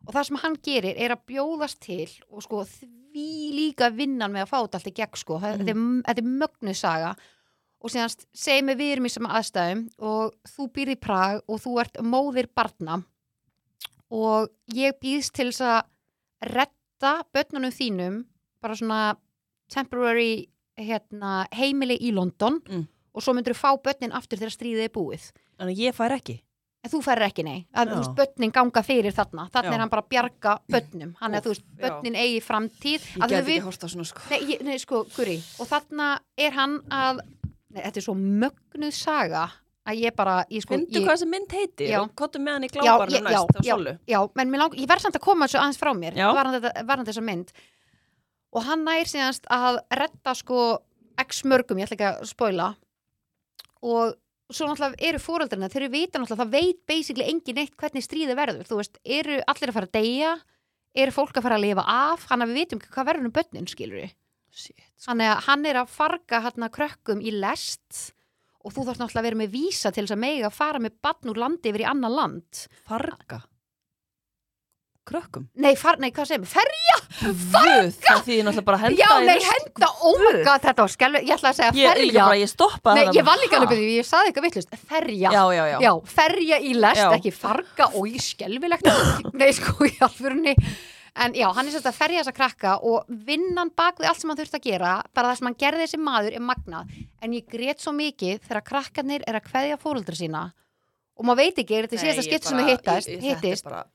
S5: og það sem hann gerir er að bjóðast til og sko því líka vinnan með að fá þetta allt í gegn sko,
S4: Mhm.
S5: þetta er, þetta er mögnuð saga og síðan segjum við við erum í sama aðstæðum og þú býrð í Prag og þú ert móðir barna og ég býðst til þess að retta börnunum þínum bara svona temporary hérna, heimili í London
S4: Mm.
S5: og svo myndur þú fá börnin aftur þegar stríðið er búið
S4: Þannig að ég fær ekki.
S5: en þú færir ekki nei að,
S4: Já.
S5: þú veist, börnin ganga fyrir þarna þarna
S4: Já.
S5: er hann bara að bjarga börnum hann er
S4: Úff,
S5: þú veist,
S4: já.
S5: börnin eigi framtíð
S4: Ég
S5: Af því
S4: get ekki
S5: við-
S4: horta svona sko.
S5: nei, ég- nei, sko, guri og þarna er hann að nei, þetta er svo mögnuð saga að ég bara, ég sko
S4: Fyndu
S5: ég,
S4: hvað þessi mynd heitir
S5: Já.
S4: og kottum með hann í
S5: já,
S4: glábarnu
S5: ég- já,
S4: næst á
S5: já,
S4: solu.
S5: já, menn mig lang, ég verð samt að koma þessu aðeins frá mér
S4: Já.
S5: varðan þetta- varðan þessa mynd og hann nær síðanst að retta sko x mörgum, ég ætla ekki að spoila og svo náttúrulega eru fóreldrarna, þeir eru vita náttúrulega það veit basically engin eitt hvernig stríði verður þú veist, eru allir að fara að deyja eru fólk að fara að lifa af hann að við vitum ekki hvað verður um börnin skilur við
S4: Shit. sko.
S5: þannig að hann er að farga hérna krökkum í lest og þú þarf náttúrulega að vera með vísa til þess að megi að fara með barn úr landi yfir í annan land
S4: Farga. Krökkum.
S5: Nei, far, nei, hvað segir maður?
S4: Farga! Það þýðir náttúrulega bara að henda
S5: Já,
S4: í
S5: nei,
S4: rusl.
S5: henda, oh my god, þetta var skellu, ég ætla að segja
S4: Ég, ég,
S5: ferja.
S4: bara, ég stoppaði
S5: nei,
S4: það
S5: ég var líka
S4: bara,
S5: alveg byrjuð, ég saði eitthvað vittlust, ferja.
S4: Já, já, já.
S5: já, ferja í lest,
S4: Já.
S5: ekki farga og í skelvilegt. nei, sko, í alvörunni. En já, hann er svolítið að ferja þessa krakka og vinnan bak við allt sem hann þurfti að gera, bara það sem hann gerði þessi maður er magnað. En ég grét svo mikið þegar krakkarnir er að kveðja fóröldra sína og maður veit ekki, er
S4: Nei,
S5: þetta síðasta
S4: ég
S5: skipt sem
S4: bara-
S5: þau hittast,
S4: ég- ég- þetta er
S5: hittist?
S4: bara-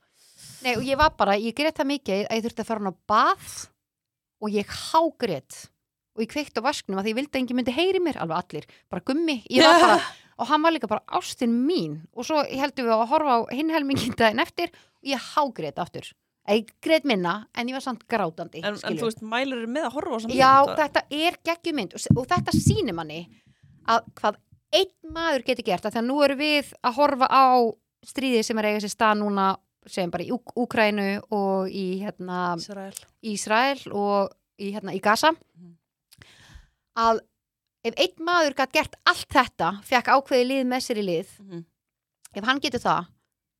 S5: Nei, og ég var bara, ég grét það mikið að ég þurfti að fara hún á bað og ég hágrét og ég kveikt á vasknum að því ég vildi að engin myndi heyri mér, alveg allir, bara gummi, ég var bara, og hann var líka bara ástin mín og svo heldum við að horfa á hinn helmingin daginn eftir og ég hágrét aftur. Ég grét minna, en ég var samt grátandi,
S4: En, en
S5: skilurðu.
S4: þú veist, mælur með að horfa á samt
S5: Já, þetta er geggjumynd og, og þetta sýnir manni að hvað einn maður getur gert að því að nú erum við að horfa á stríði sem er að eiga sér stað núna sem bara í Úk Úkrænu og í hérna,
S4: Ísrael
S5: Ísrael og í, hérna, í Gaza
S4: Mhm.
S5: að ef einn maður gætt gert allt þetta fekk ákveði lið með sér í lið
S4: Mhm.
S5: ef hann getur það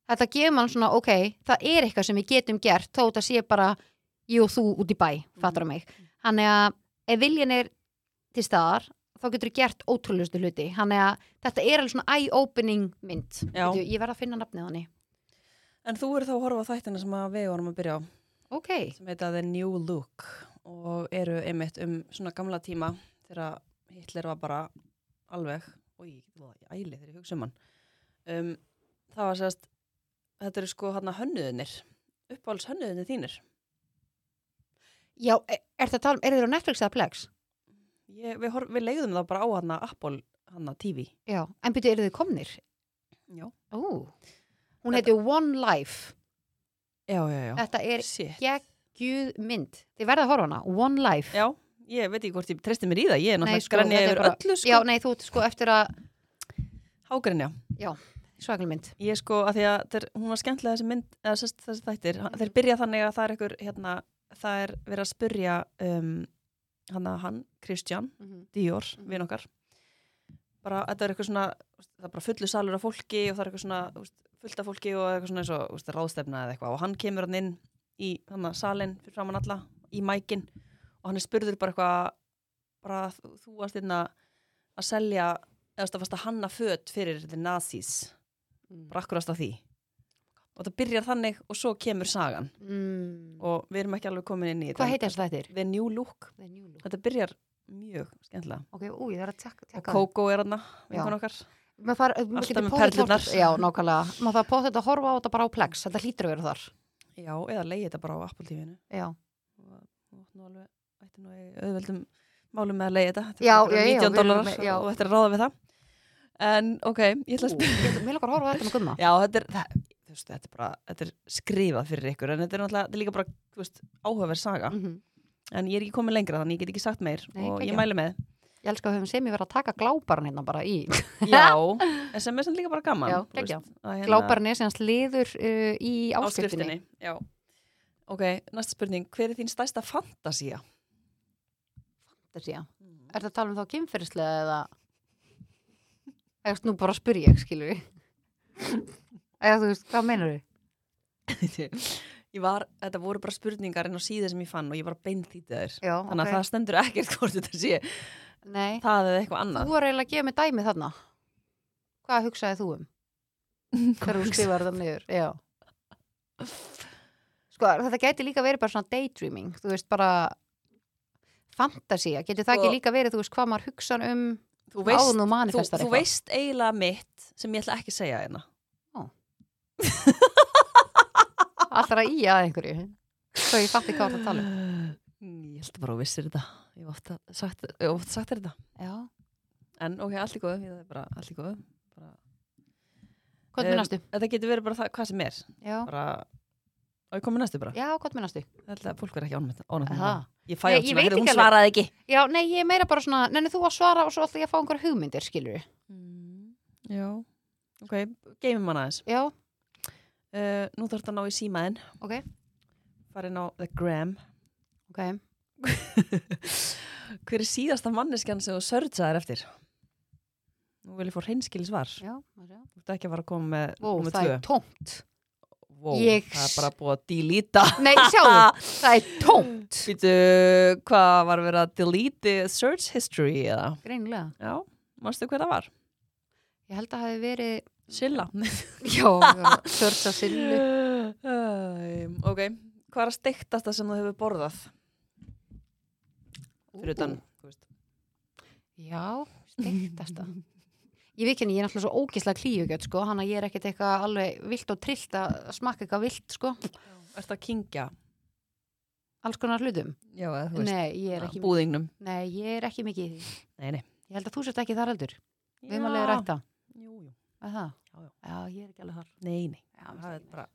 S5: þetta gefur mann svona, ok, það er eitthvað sem við getum gert, þó þetta sé bara ég og þú út í bæ,
S4: Mhm.
S5: fattar mig þannig að ef viljan er til staðar, þá getur þú gert ótrúlustu hluti, þannig að þetta er alveg svona eye-opening mynd
S4: Já.
S5: Veitu, ég verð að finna nafnið á hann
S4: En þú eru þá að horfa á þættina sem að við vorum að byrja á
S5: ok,
S4: sem heita The New Look og eru einmitt um svona gamla tíma þegar Hitler var bara alveg og ég æli þegar ég hugsa um hann um, það var sérst þetta eru sko hann að hönnuðinir uppáhalds hönnuðinir þínir
S5: já, e, er, er þetta talum um, er þetta á Netflix eða Plex?
S4: ég, við, horf, við leiðum það bara á hann að Apple hérna hann að TV
S5: Já, en byrju, eru þið komnir?
S4: Já.
S5: Ó. Hún heitir One Life.
S4: Já, já, já
S5: Þetta er
S4: Shit.
S5: geggjuð mynd. Þið verða að horfa á hana, One Life.
S4: Já, ég veit ekki hvort ég treysti mér í það ég er náttúrulega sko,
S5: þetta er
S4: yfir
S5: bara-
S4: öllu
S5: Já,
S4: sko,
S5: nei, þú ert sko eftir að,
S4: hágrenja
S5: já, svakal mynd.
S4: Ég sko, að því að þeir, hún var skemmtilega þessi mynd, eða sest, þessi þættir, hann- þeir byrja þannig að það er ykkur, hérna, það er verið að spyrja um, hann að hann, Kristján, Dior, mm. vinn okkar, bara, þetta er eitthvað svona, þú veist, það er bara fullu salur af fólki og það er eitthvað svona, þú veist, fullt af fólki og eitthvað svona eins og, þú veist, ráðstefna eða eitthvað og hann kemur hann inn í, hann að salin fyrir framann alla, í mækin og hann er spurður bara eitthvað, bara, þú, þú varst hérna að selja, eða þú veist, að varst að hanna föt fyrir the nazis
S5: Mm.
S4: bara akkurast á því og það byrjar þannig og svo kemur sagan
S5: Mm.
S4: og við erum ekki alveg komin inn í
S5: Hvað heitir þess þættir?
S4: The New Look,
S5: The New Look.
S4: þetta byrjar mjög skemmtilega
S5: Ok, ú, ég þarf að tekka
S4: og Coco er hana, vinkun
S5: Já.
S4: okkar
S5: Maður þarf, maður
S4: Alltaf
S5: getur
S4: með
S5: pottþétt
S4: perlurnar.
S5: horft- Já, nákvæmlega. Maður þarf að þetta að horfa á þetta bara á Plex. Þetta hlýtur að vera þar.
S4: Já, eða leiði þetta bara á Apple TV-inu.
S5: já,
S4: Þú átt nú alveg, ætti nú í auðveldum málum með að leiði þetta. Þetta
S5: Já,
S4: er bara
S5: já,
S4: 19
S5: já, við erum
S4: dólarar
S5: með- já.
S4: og þetta er að ráða við það. En ok, ég ætla að spila.
S5: mér lakar að horfa á þetta með gumma
S4: Já, þetta er, það, þú veist, þetta er bara, þetta er skrifað fyrir ykkur, en þetta er náttúrulega, þetta er líka bara, þú veist, áhugaverð saga.
S5: Mhm.
S4: En ég er ekki komin lengra þannig, ég get ekki sagt meir
S5: Nei,
S4: og ég
S5: geggjað.
S4: mælu með.
S5: ég elska að höfum sem ég verið að taka glábarn hérna bara í
S4: Já, en sem er samt líka bara gaman.
S5: Já,
S4: þú veist,
S5: geggjað.
S4: að hérna-
S5: glábarn er sem hans liður uh, í áskriftinni
S4: áskriftinni. Já. Ok, næsta spurning, hver er þín stærsta fantasía?
S5: þessi, já. Er þetta að tala um þá kynferðislega eða eða nú bara að spyrja, skilur við eða þú veist, hvað meinar við?
S4: ég var, þetta voru bara spurningar inn á síðu sem ég fann og ég var að beinþýta þér
S5: Já,
S4: þannig að
S5: ok.
S4: það stendur ekkert hvort þetta sé
S5: Nei,
S4: það eða eitthvað annað
S5: þú var eiginlega að gefa mig dæmi þarna hvað hugsaði þú um? þegar þú skrifar það niður já sko, þetta gæti líka verið bara svona daydreaming þú veist, bara fantasía, getur það
S4: Sko-
S5: ekki líka verið þú veist, hvað maður hugsa um
S4: þú
S5: áður
S4: veist,
S5: nú
S4: þú,
S5: manifestar
S4: þú veist eiginlega mitt sem ég ætla ekki að segja hérna
S5: allra í að einhverju svo ég fatt ekki hvað það tala um
S4: Mm, ég held bara að þú vissir þetta ég hef ofta sagt, ég hef ofta sagt þér þetta
S5: já,
S4: en ok, allt í góðu, ég- það er bara allt í góðu bara,
S5: hvað með
S4: Em,
S5: næstu?
S4: þetta getur verið bara það, hvað sem er
S5: Ehm, já,
S4: bara, og ég komið næstu bara
S5: já hvað með næstu?
S4: ég held að fólk verið ekki ánægt ánægt með
S5: Aha.
S4: það. ég fæ
S5: Nei,
S4: allt
S5: ég
S4: sem að
S5: veit
S4: "Heyrðu,
S5: ekki
S4: hún
S5: alveg."
S4: svaraði ekki
S5: já, nei, ég er meira bara svona, nenni þú að svara og svo ætla ég að fá einhverja hugmyndir, skilur við Mm.
S4: já, ok, geymum hann aðeins
S5: já,
S4: Uh, nú þarf þetta að ná í símaðinn
S5: ok,
S4: farin á The Gram
S5: ok
S4: Hver er síðasta manneskjan sem þú sörtsaðir eftir? Nú vil ég fór hreinskili svar Þú
S5: já, má sjá.
S4: ert ekki að fara að koma með
S5: Vó,
S4: númer
S5: það
S4: tvö.
S5: er tómt
S4: Vó,
S5: Ég-
S4: Það er bara búið að deleta
S5: Nei, sjáðu, það er tómt
S4: Býtu, hvað var verið að delete search history eða?
S5: Greinilega,
S4: Já, manstu hver það var?
S5: ég held að það hefði verið
S4: Silla
S5: Já, já, sörsa sillu
S4: um, Ok, hvað er að steiktasta sem þú hefur borðað? Fyrir utan, þú veist
S5: Já, steiktasta Ég veit ekki, ég er náttúrulega svo ógislega klífugjöld sko, hann að ég er ekkert eitthvað alveg vilt og trillt að smakka eitthvað vilt sko,
S4: Ertu að kingja?
S5: alls konar hlutum
S4: Já, eða þú veist
S5: Nei, ég er ekki,
S4: Búðingnum
S5: nei, ég er ekki mikið í því
S4: Nei, nei
S5: Ég held að þú sért ekki þar heldur, við erum alveg rætta
S4: Jú, jú
S5: Er það?
S4: Já, já.
S5: já, ég er ekki alveg þar
S4: Nei, nei,
S5: Já,
S4: það
S5: mér finnst það
S4: er
S5: ekki
S4: bara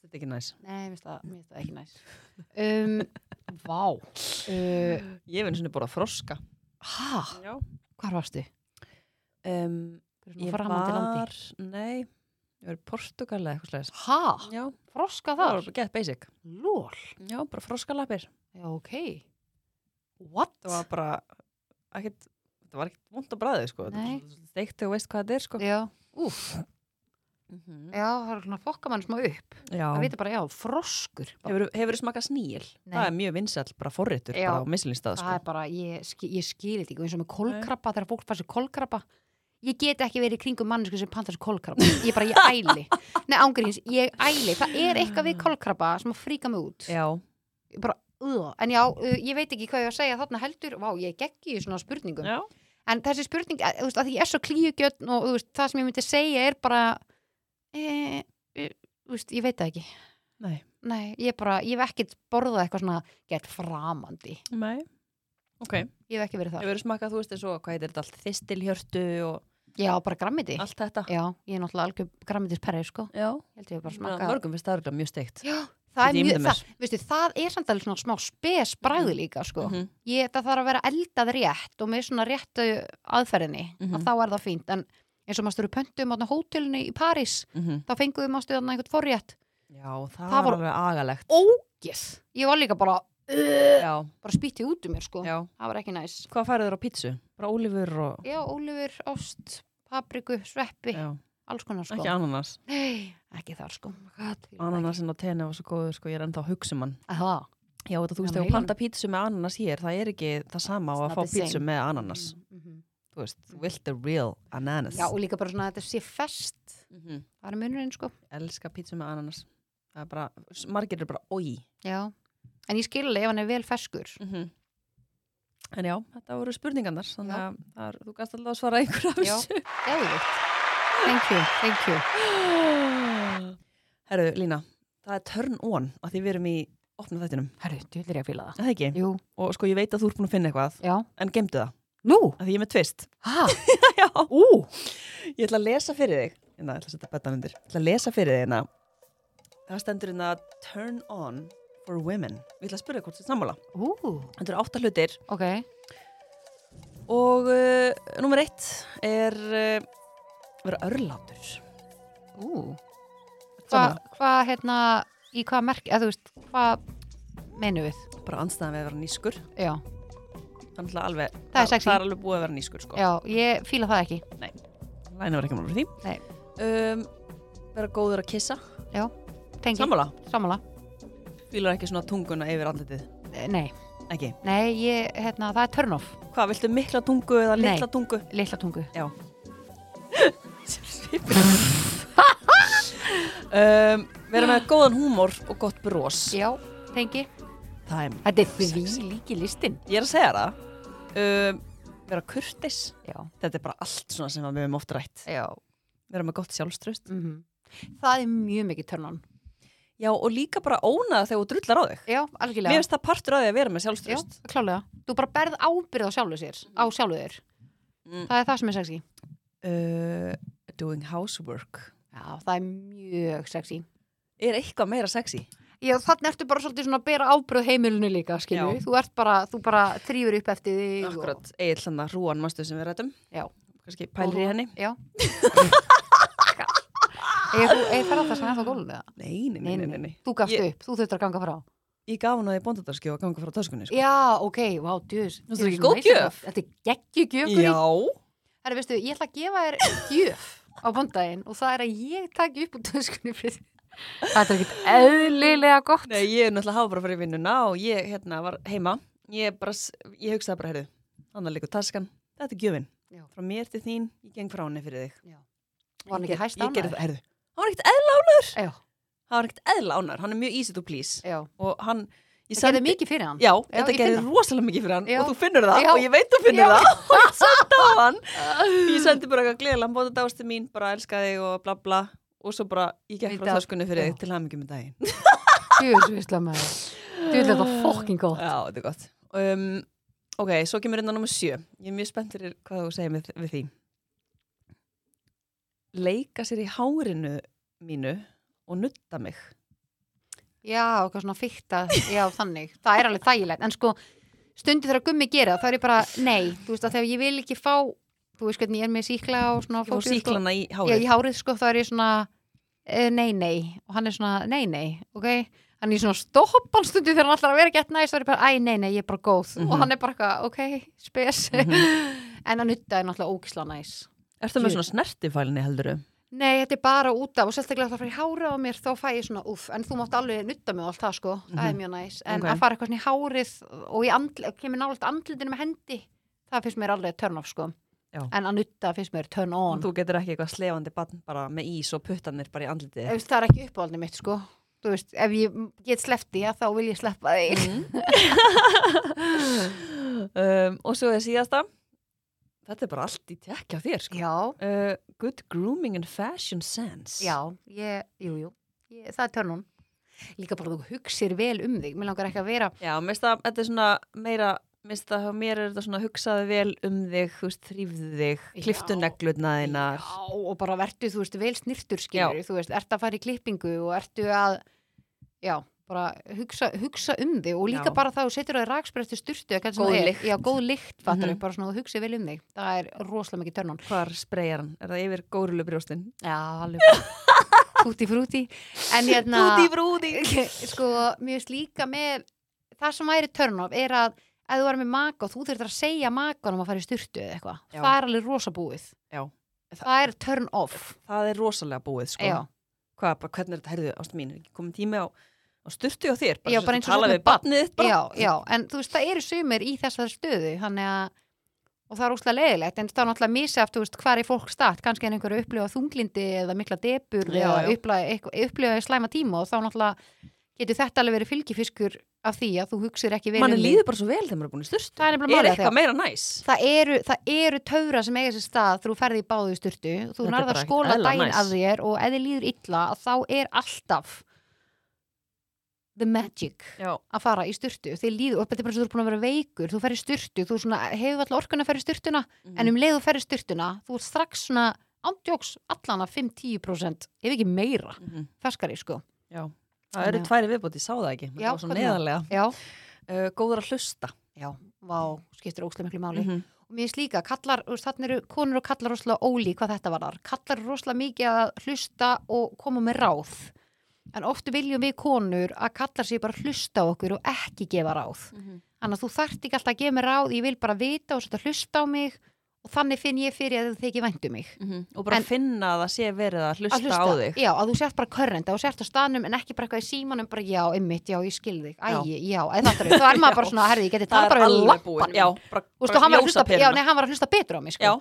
S4: Þetta er ekki næs
S5: Nei, mér finnst það, mér finnst það ekki næs um, Vá uh,
S4: Ég hef einu sinni borðað froska
S5: Hæ,
S4: Já
S5: hvar varstu?
S4: um,
S5: Hversu
S4: Ég
S5: framandi landi?
S4: var, nei Ég var í Portugal eða eitthvað slæðis
S5: Hæ?
S4: Já,
S5: Froska
S4: það var
S5: þar?
S4: bara gett basic
S5: Lól?
S4: Já, bara froskalappir
S5: Já, ok. What?
S4: Það var bara ekkert Það var ekkert vond að bræðið sko
S5: Nei.
S4: Steikti og veist hvað þetta er sko
S5: Já, úf,
S4: mm -hmm.
S5: já, það er svona fokka mann smá upp. Það
S4: Já
S5: veit bara, já, froskur.
S4: Hefur þú smakað sníl?
S5: Nei.
S4: Það er mjög vinsall, bara forritur,
S5: Já.
S4: bara á mislinstað
S5: Það
S4: sko.
S5: er bara, ég, ski- ég skilir þetta ekki, Og eins og með kolkrabba, þegar fólk fær sér kolkrabba. Ég get ekki verið í kringum mannesku sem pantar sér kolkrabba. Ég bara, ég æli. Nei, ángurins, ég æli. Það er eitthvað við kolkrabba sem að fríka mig út.
S4: Já,
S5: Ég Bara, uh, en já, uh, ég veit ekki hvað ég á að segja þarna heldur. Vá, ég geggi í svona spurningum.
S4: já
S5: en þessi spurning, að, þú veist, að því ég er svo klíugjörn og þú veist, það sem ég myndi segja er bara e, e, þú veist, ég veit það ekki
S4: Nei,
S5: nei, ég er bara, ég hef ekkert borðað eitthvað svona gett framandi,
S4: nei Ok,
S5: ég hef ekki verið það
S4: hefur þú smakað, þú veist, eins og hvað heitir þetta allt Þistilhjörtu og
S5: já, bara grammiti,
S4: allt þetta
S5: já, ég er náttúrulega algjör grammitisperri, sko,
S4: Já,
S5: ég held ég hef bara
S4: Smakað.
S5: smakað
S4: mörgum finnst það örugglega mjög steikt
S5: já, það
S4: Ég
S5: er
S4: myndi
S5: mjög,
S4: mér.
S5: það, veistu, það er samt alveg svona smá spes bræði líka, sko
S4: Mhm.
S5: ég, það þarf að vera eldað rétt og með svona réttu aðferðinni
S4: Mhm.
S5: að þá er það fínt, en eins og maður stúru pöntum á hótelinu í París
S4: mhm.
S5: þá fenguðum maður stöðan einhvern forrétt
S4: Já, það,
S5: Það
S4: var
S5: var-
S4: alveg agalegt
S5: ógeð ég var líka bara,
S4: Já,
S5: bara spýtti út um mér sko
S4: já
S5: það var ekki næs
S4: Hvað færðu þér á pítsu? Bara ólifur og
S5: já, ólifur, ost, papriku, sveppi
S4: já,
S5: alls konar sko
S4: Ekki ananas
S5: Nei, ekki þar sko God,
S4: Ananasinn á tenni var svo góður, sko, ég er ennþá að hugsa um hann
S5: það
S4: Já, þetta þú veist,
S5: Já,
S4: ef
S5: nei.
S4: þú panta pítsu með ananas hér það er ekki það sama á
S5: It's
S4: að
S5: not
S4: fá
S5: the same.
S4: pítsu með ananas
S5: Mm, mhm.
S4: Þú veist, þú vilt the real ananas
S5: já, og líka bara svona að þetta sé fest
S4: Mhm.
S5: það er munurinn sko
S4: Elska pítsu með ananas Það er bara, margir er bara, oi
S5: já. en ég skil alveg ef hann er vel feskur
S4: En já, þetta voru spurningarnar þannig
S5: Mhm.
S4: að
S5: Já.
S4: það er- þú gast alltaf að svara einhverja af
S5: Já.
S4: þessu
S5: eða thank you, thank you
S4: Herru, Lína, það það er turn on að því við erum í opna þættinum,
S5: Herru, djúlir ég að fíla það.
S4: er það ekki?
S5: Jú,
S4: Og sko ég veit að þú ert búin að finna eitthvað
S5: já.
S4: en gemdu það,
S5: Nú,
S4: að því ég er með tvist
S5: hæ?
S4: Já,
S5: Ú,
S4: ég ætla að lesa fyrir þig hérna, ég ætla að setja betan undir, ég ætla að lesa fyrir þig hérna það stendur hérna turn on for women ég ætla að spyrja hvort þetta sammála,
S5: ú,
S4: þetta eru átta hlutir
S5: ok.
S4: og uh, nummer eitt er uh, vera örlátur
S5: Ú. Hvað,
S4: Sammála.
S5: hva, hérna, í hvað merk, eða þú veist, hvað mennum við?
S4: bara anstæðan við að vera nýskur
S5: Já,
S4: þannig að alveg,
S5: Það er sexy.
S4: það er alveg búið að vera nýskur sko.
S5: já, ég fíla það ekki.
S4: læna var ekki málur því
S5: Nei.
S4: um, vera góður að kissa
S5: Já, tengi.
S4: sammála,
S5: Sammála.
S4: fýlar ekki svona tunguna yfir andlitið
S5: Eh, Nei,
S4: ekki,
S5: nei, ég, hérna, það er turn off,
S4: hvað, viltu mikla tungu eða
S5: Nei.
S4: litla tungu
S5: litla tungu.
S4: já um, vera með góðan húmor og gott brós
S5: Já, tengi.
S4: það er,
S5: Þetta er því líki listin.
S4: ég er að segja það um, vera kurtis
S5: Já,
S4: þetta er bara allt svona sem að við höfum oft rætt
S5: já.
S4: vera með gott sjálfströst
S5: Mm Það er mjög mikið turn on.
S4: já og líka bara ónaða þegar þú drullar á þig
S5: Já,
S4: mér
S5: algjörlega.
S4: finnst það partur á því að vera með
S5: Já,
S4: sjálfströst
S5: klálega. Þú bara berð ábyrð á sjálfu sér, á sjálfu þér.
S4: Mm.
S5: Það er það sem er sexy.
S4: uh, doing housework
S5: Já, það er mjög sexy.
S4: er eitthvað meira sexy
S5: Já, þannig ertu bara svolítið svona að bera ábyrð á heimilinu líka, skilju.
S4: Já.
S5: Þú ert bara, þú bara þrýfur upp eftir þig. og-
S4: akkurat, eigin hlanna rúan mástu sem við rættum
S5: Já.
S4: kannski pælir í henni
S5: Já. Eða þú, eða ferða það sem er það gólun eða?
S4: nei, nei, nei, nei, nei, nei.
S5: Þú gafst
S4: Ég-
S5: upp, þú þurftur að ganga frá.
S4: ég gaf hún að ég bóndadarski og að ganga frá töskunni sko.
S5: Já, ok, vá, djús.
S4: Þetta er ekki góð gjöf.
S5: Þetta er geggjugjöf, Gurrí. Herra, veistu, ég ætla að gefa þér gjöf á bondaginn og það er að ég taki upp úr töskunni fyrir þig. Þetta er ekkert eðlilega gott.
S4: nei, ég er náttúrulega hafa bara fyrir vinnuna og ég hérna var heima ég, bara, s- ég hugsaði bara, heyrðu, þannig að líka taskan þetta er gjöfin,
S5: Já.
S4: frá mér til þín ég geng frá henni fyrir þig
S5: Var hann
S4: Ég-
S5: ekki hæst
S4: ég gerði
S5: ánæður?
S4: það, heyrðu, hann var ekkert eðla ánæður
S5: Já,
S4: hann var ekkert eðla ánæður, hann er mjög easy to please
S5: já.
S4: og hann, ég
S5: Það gerði mikið fyrir hann.
S4: Já, þetta
S5: ég finn
S4: gerði
S5: það.
S4: rosalega mikið fyrir hann
S5: Já.
S4: og þú finnur það
S5: Já.
S4: og ég veit þú finnur
S5: Já.
S4: það og ég sendi á hann ég sendi bara eitthvað gleðilega, hann bóði þetta ástu mín bara elska þig og bla bla og svo bara, ég gekk
S5: Í
S4: frá
S5: dag.
S4: þöskunni fyrir
S5: Já.
S4: þig til hamingjum með daginn
S5: Djús, veistlega með það. Djús, þetta er fokking góð.
S4: Já, þetta er gott um, Ok, svo kemur hérna nummer sjö Ég er mjög spennt fyrir hvað þú segir við, við því Leika sér í hárinu mínu og nutta mig
S5: Já, eitthvað svona fyrta, já, þannig. Það er alveg þægilegt, en sko, stundu þegar gummi gera það, þá er ég bara, nei, þú veist að þegar ég vil ekki fá, þú veist hvernig ég er með síkla og svona
S4: og
S5: fólki, sko.
S4: síklana í
S5: Já, í
S4: hárið
S5: hárið sko, þá er ég svona eh, nei, nei, og hann er svona nei, nei, ok, hann er svona stoppan stundu þegar hann ætlar að vera gett næst þá er ég bara, æ, nei, nei, ég er bara góð,
S4: Mhm.
S5: og hann er bara eitthvað, ok, spes en hann nutta er náttúrulega ógisla næs
S4: Ertu með svona snertifælinni heldur
S5: Nei, þetta er bara út af, og sérstaklega það fyrir hárið á mér, þá fæ ég svona, uff, en þú mátt alveg nutta mig og allt það, sko, það er mjög næs en
S4: Mhm. Ok.
S5: að fara eitthvað svona í hárið og ég andl, kemur nálægt andlutinu með hendi það finnst mér alveg turn off, sko
S4: Já.
S5: en að nutta finnst mér turn on
S4: Þú getur ekki eitthvað slefandi bann bara með ís og puttanir bara í andlitið
S5: ef það er ekki uppáhaldið mitt sko þú veist, ef ég get sleppti já, þá vil ég sleppa þig
S4: um, og svo er síðasta þetta er bara allt í tekja á þér sko.
S5: já,
S4: uh, good grooming and fashion sense
S5: já, ég, jú, jú ég, það er törnun líka bara þú hugsir vel um þig mér langar ekki að vera
S4: já mér það, þetta er svona meira mér finnst það, hjá mér er þetta svona hugsaðu vel um þig, þú veist, þrýfðu þig
S5: Já.
S4: kliftu neglutna þína
S5: já, og bara vertu, þú veist, vel snirtur skilur þú veist, ertu að fara í klippingu og ertu að já, bara hugsa, hugsa um þig og líka
S4: Já.
S5: bara það þú setur á þig raksprættu styrtu eða hvernig sem
S4: Góð
S5: það er.
S4: lykt.
S5: já, góð lykt, fattar
S4: Mhm.
S5: bara svona þú hugsir vel um þig það er rosalega mikið törnun
S4: hvar spreyjar hann, er það yfir górulega brjóstin
S5: já, alveg fúti frúti en hérna
S4: brúti
S5: sko, mér finnst líka með það sem væri turn off er að ef þú varum með maka og þú þurftir að segja makanum að fara í styrtu eða eitthvað,
S4: Já.
S5: það er alveg rosa búið
S4: Já.
S5: það er turn off
S4: það er rosalega búið sko.
S5: já,
S4: Hvað, bara, hvernig er þetta, herðu, ástu mín, er ekki komið tími á, á styrtu á þér,
S5: Já,
S4: sem
S5: bara
S4: sagt
S5: eins og
S4: tala
S5: svona
S4: við barnið þitt bara.
S5: já, já, en þú veist, það eru sumir í þessari stöðu, þannig að og það er óslega leiðilegt, en það er náttúrulega misjafn, þú veist, hvar er fólk statt, kannski er einhver að upplifa þunglindi eða mikla debur
S4: Já,
S5: eða
S4: já.
S5: upplifa, eitthvað- upplifa slæma tíma og þá náttúrulega getur þetta alveg verið fylgifiskur af því að þú hugsir ekki vel
S4: manni
S5: um þig.
S4: líður bara svo vel þegar maður er búin í styrtu
S5: Það er
S4: er
S5: nefnilega málið, þegar-
S4: eitthvað meira næs
S5: það eru, það eru töfra sem eiga sér stað þegar þú ferði í báðu styrtu þú
S4: Þetta er
S5: nærða
S4: bara
S5: að
S4: ekkert
S5: skóla
S4: eðla
S5: daginn
S4: næs.
S5: af þér og ef þið líður illa að þá er alltaf the magic
S4: Já.
S5: að fara í styrtu þeir líður, og þetta er bara eins og þú er búin að vera veikur þú ferir styrtu, þú svona, hefur alltaf orkun að ferir styrtuna
S4: Mhm.
S5: en um leið þú ferir styrtuna þú ert strax svona ándjóks allan að 5-10% ef ekki meira
S4: Mhm.
S5: ferskari sko
S4: Já. Það eru
S5: Þannig að-
S4: tværi viðbót, ég sá það ekki.
S5: Já,
S4: það var svo
S5: hvernig?
S4: neðarlega.
S5: já,
S4: Uh, góður að hlusta.
S5: já, vá, skiptir óslega miklu máli
S4: -hmm.
S5: og mér finnst líka, kallar, þú veist, þarna eru konur og kallar rosalega ólík hvað þetta var þar kallar eru rosalega mikið að hlusta og koma með ráð en oftu viljum við konur að kallar sér bara að hlusta á okkur og ekki gefa ráð
S4: Mhm.
S5: Þannig að þú þarft ekki alltaf að gefa mér ráð, ég vil bara vita og setja hlusta á mig og þannig finn ég fyrir að þau þykir væntu mig.
S4: Og bara
S5: Mhm. En-
S4: finna að það sé verið að Mhm. hlusta,
S5: Að hlusta,
S4: á þig.
S5: Já, að þú sért bara körrenda og sért á staðnum en ekki bara eitthvað í símanum, bara já, ymmit, já, ég skil þig, æ,
S4: Já.
S5: já, já eða það er, þá er maður bara svona, herði, ég geti það bara við lappan.
S4: Já, bara,
S5: Þú veist, og hann var, að hlusta, já,
S4: ljósapyrna.
S5: nei, hann var að hlusta betur á mig, sko.
S4: Já,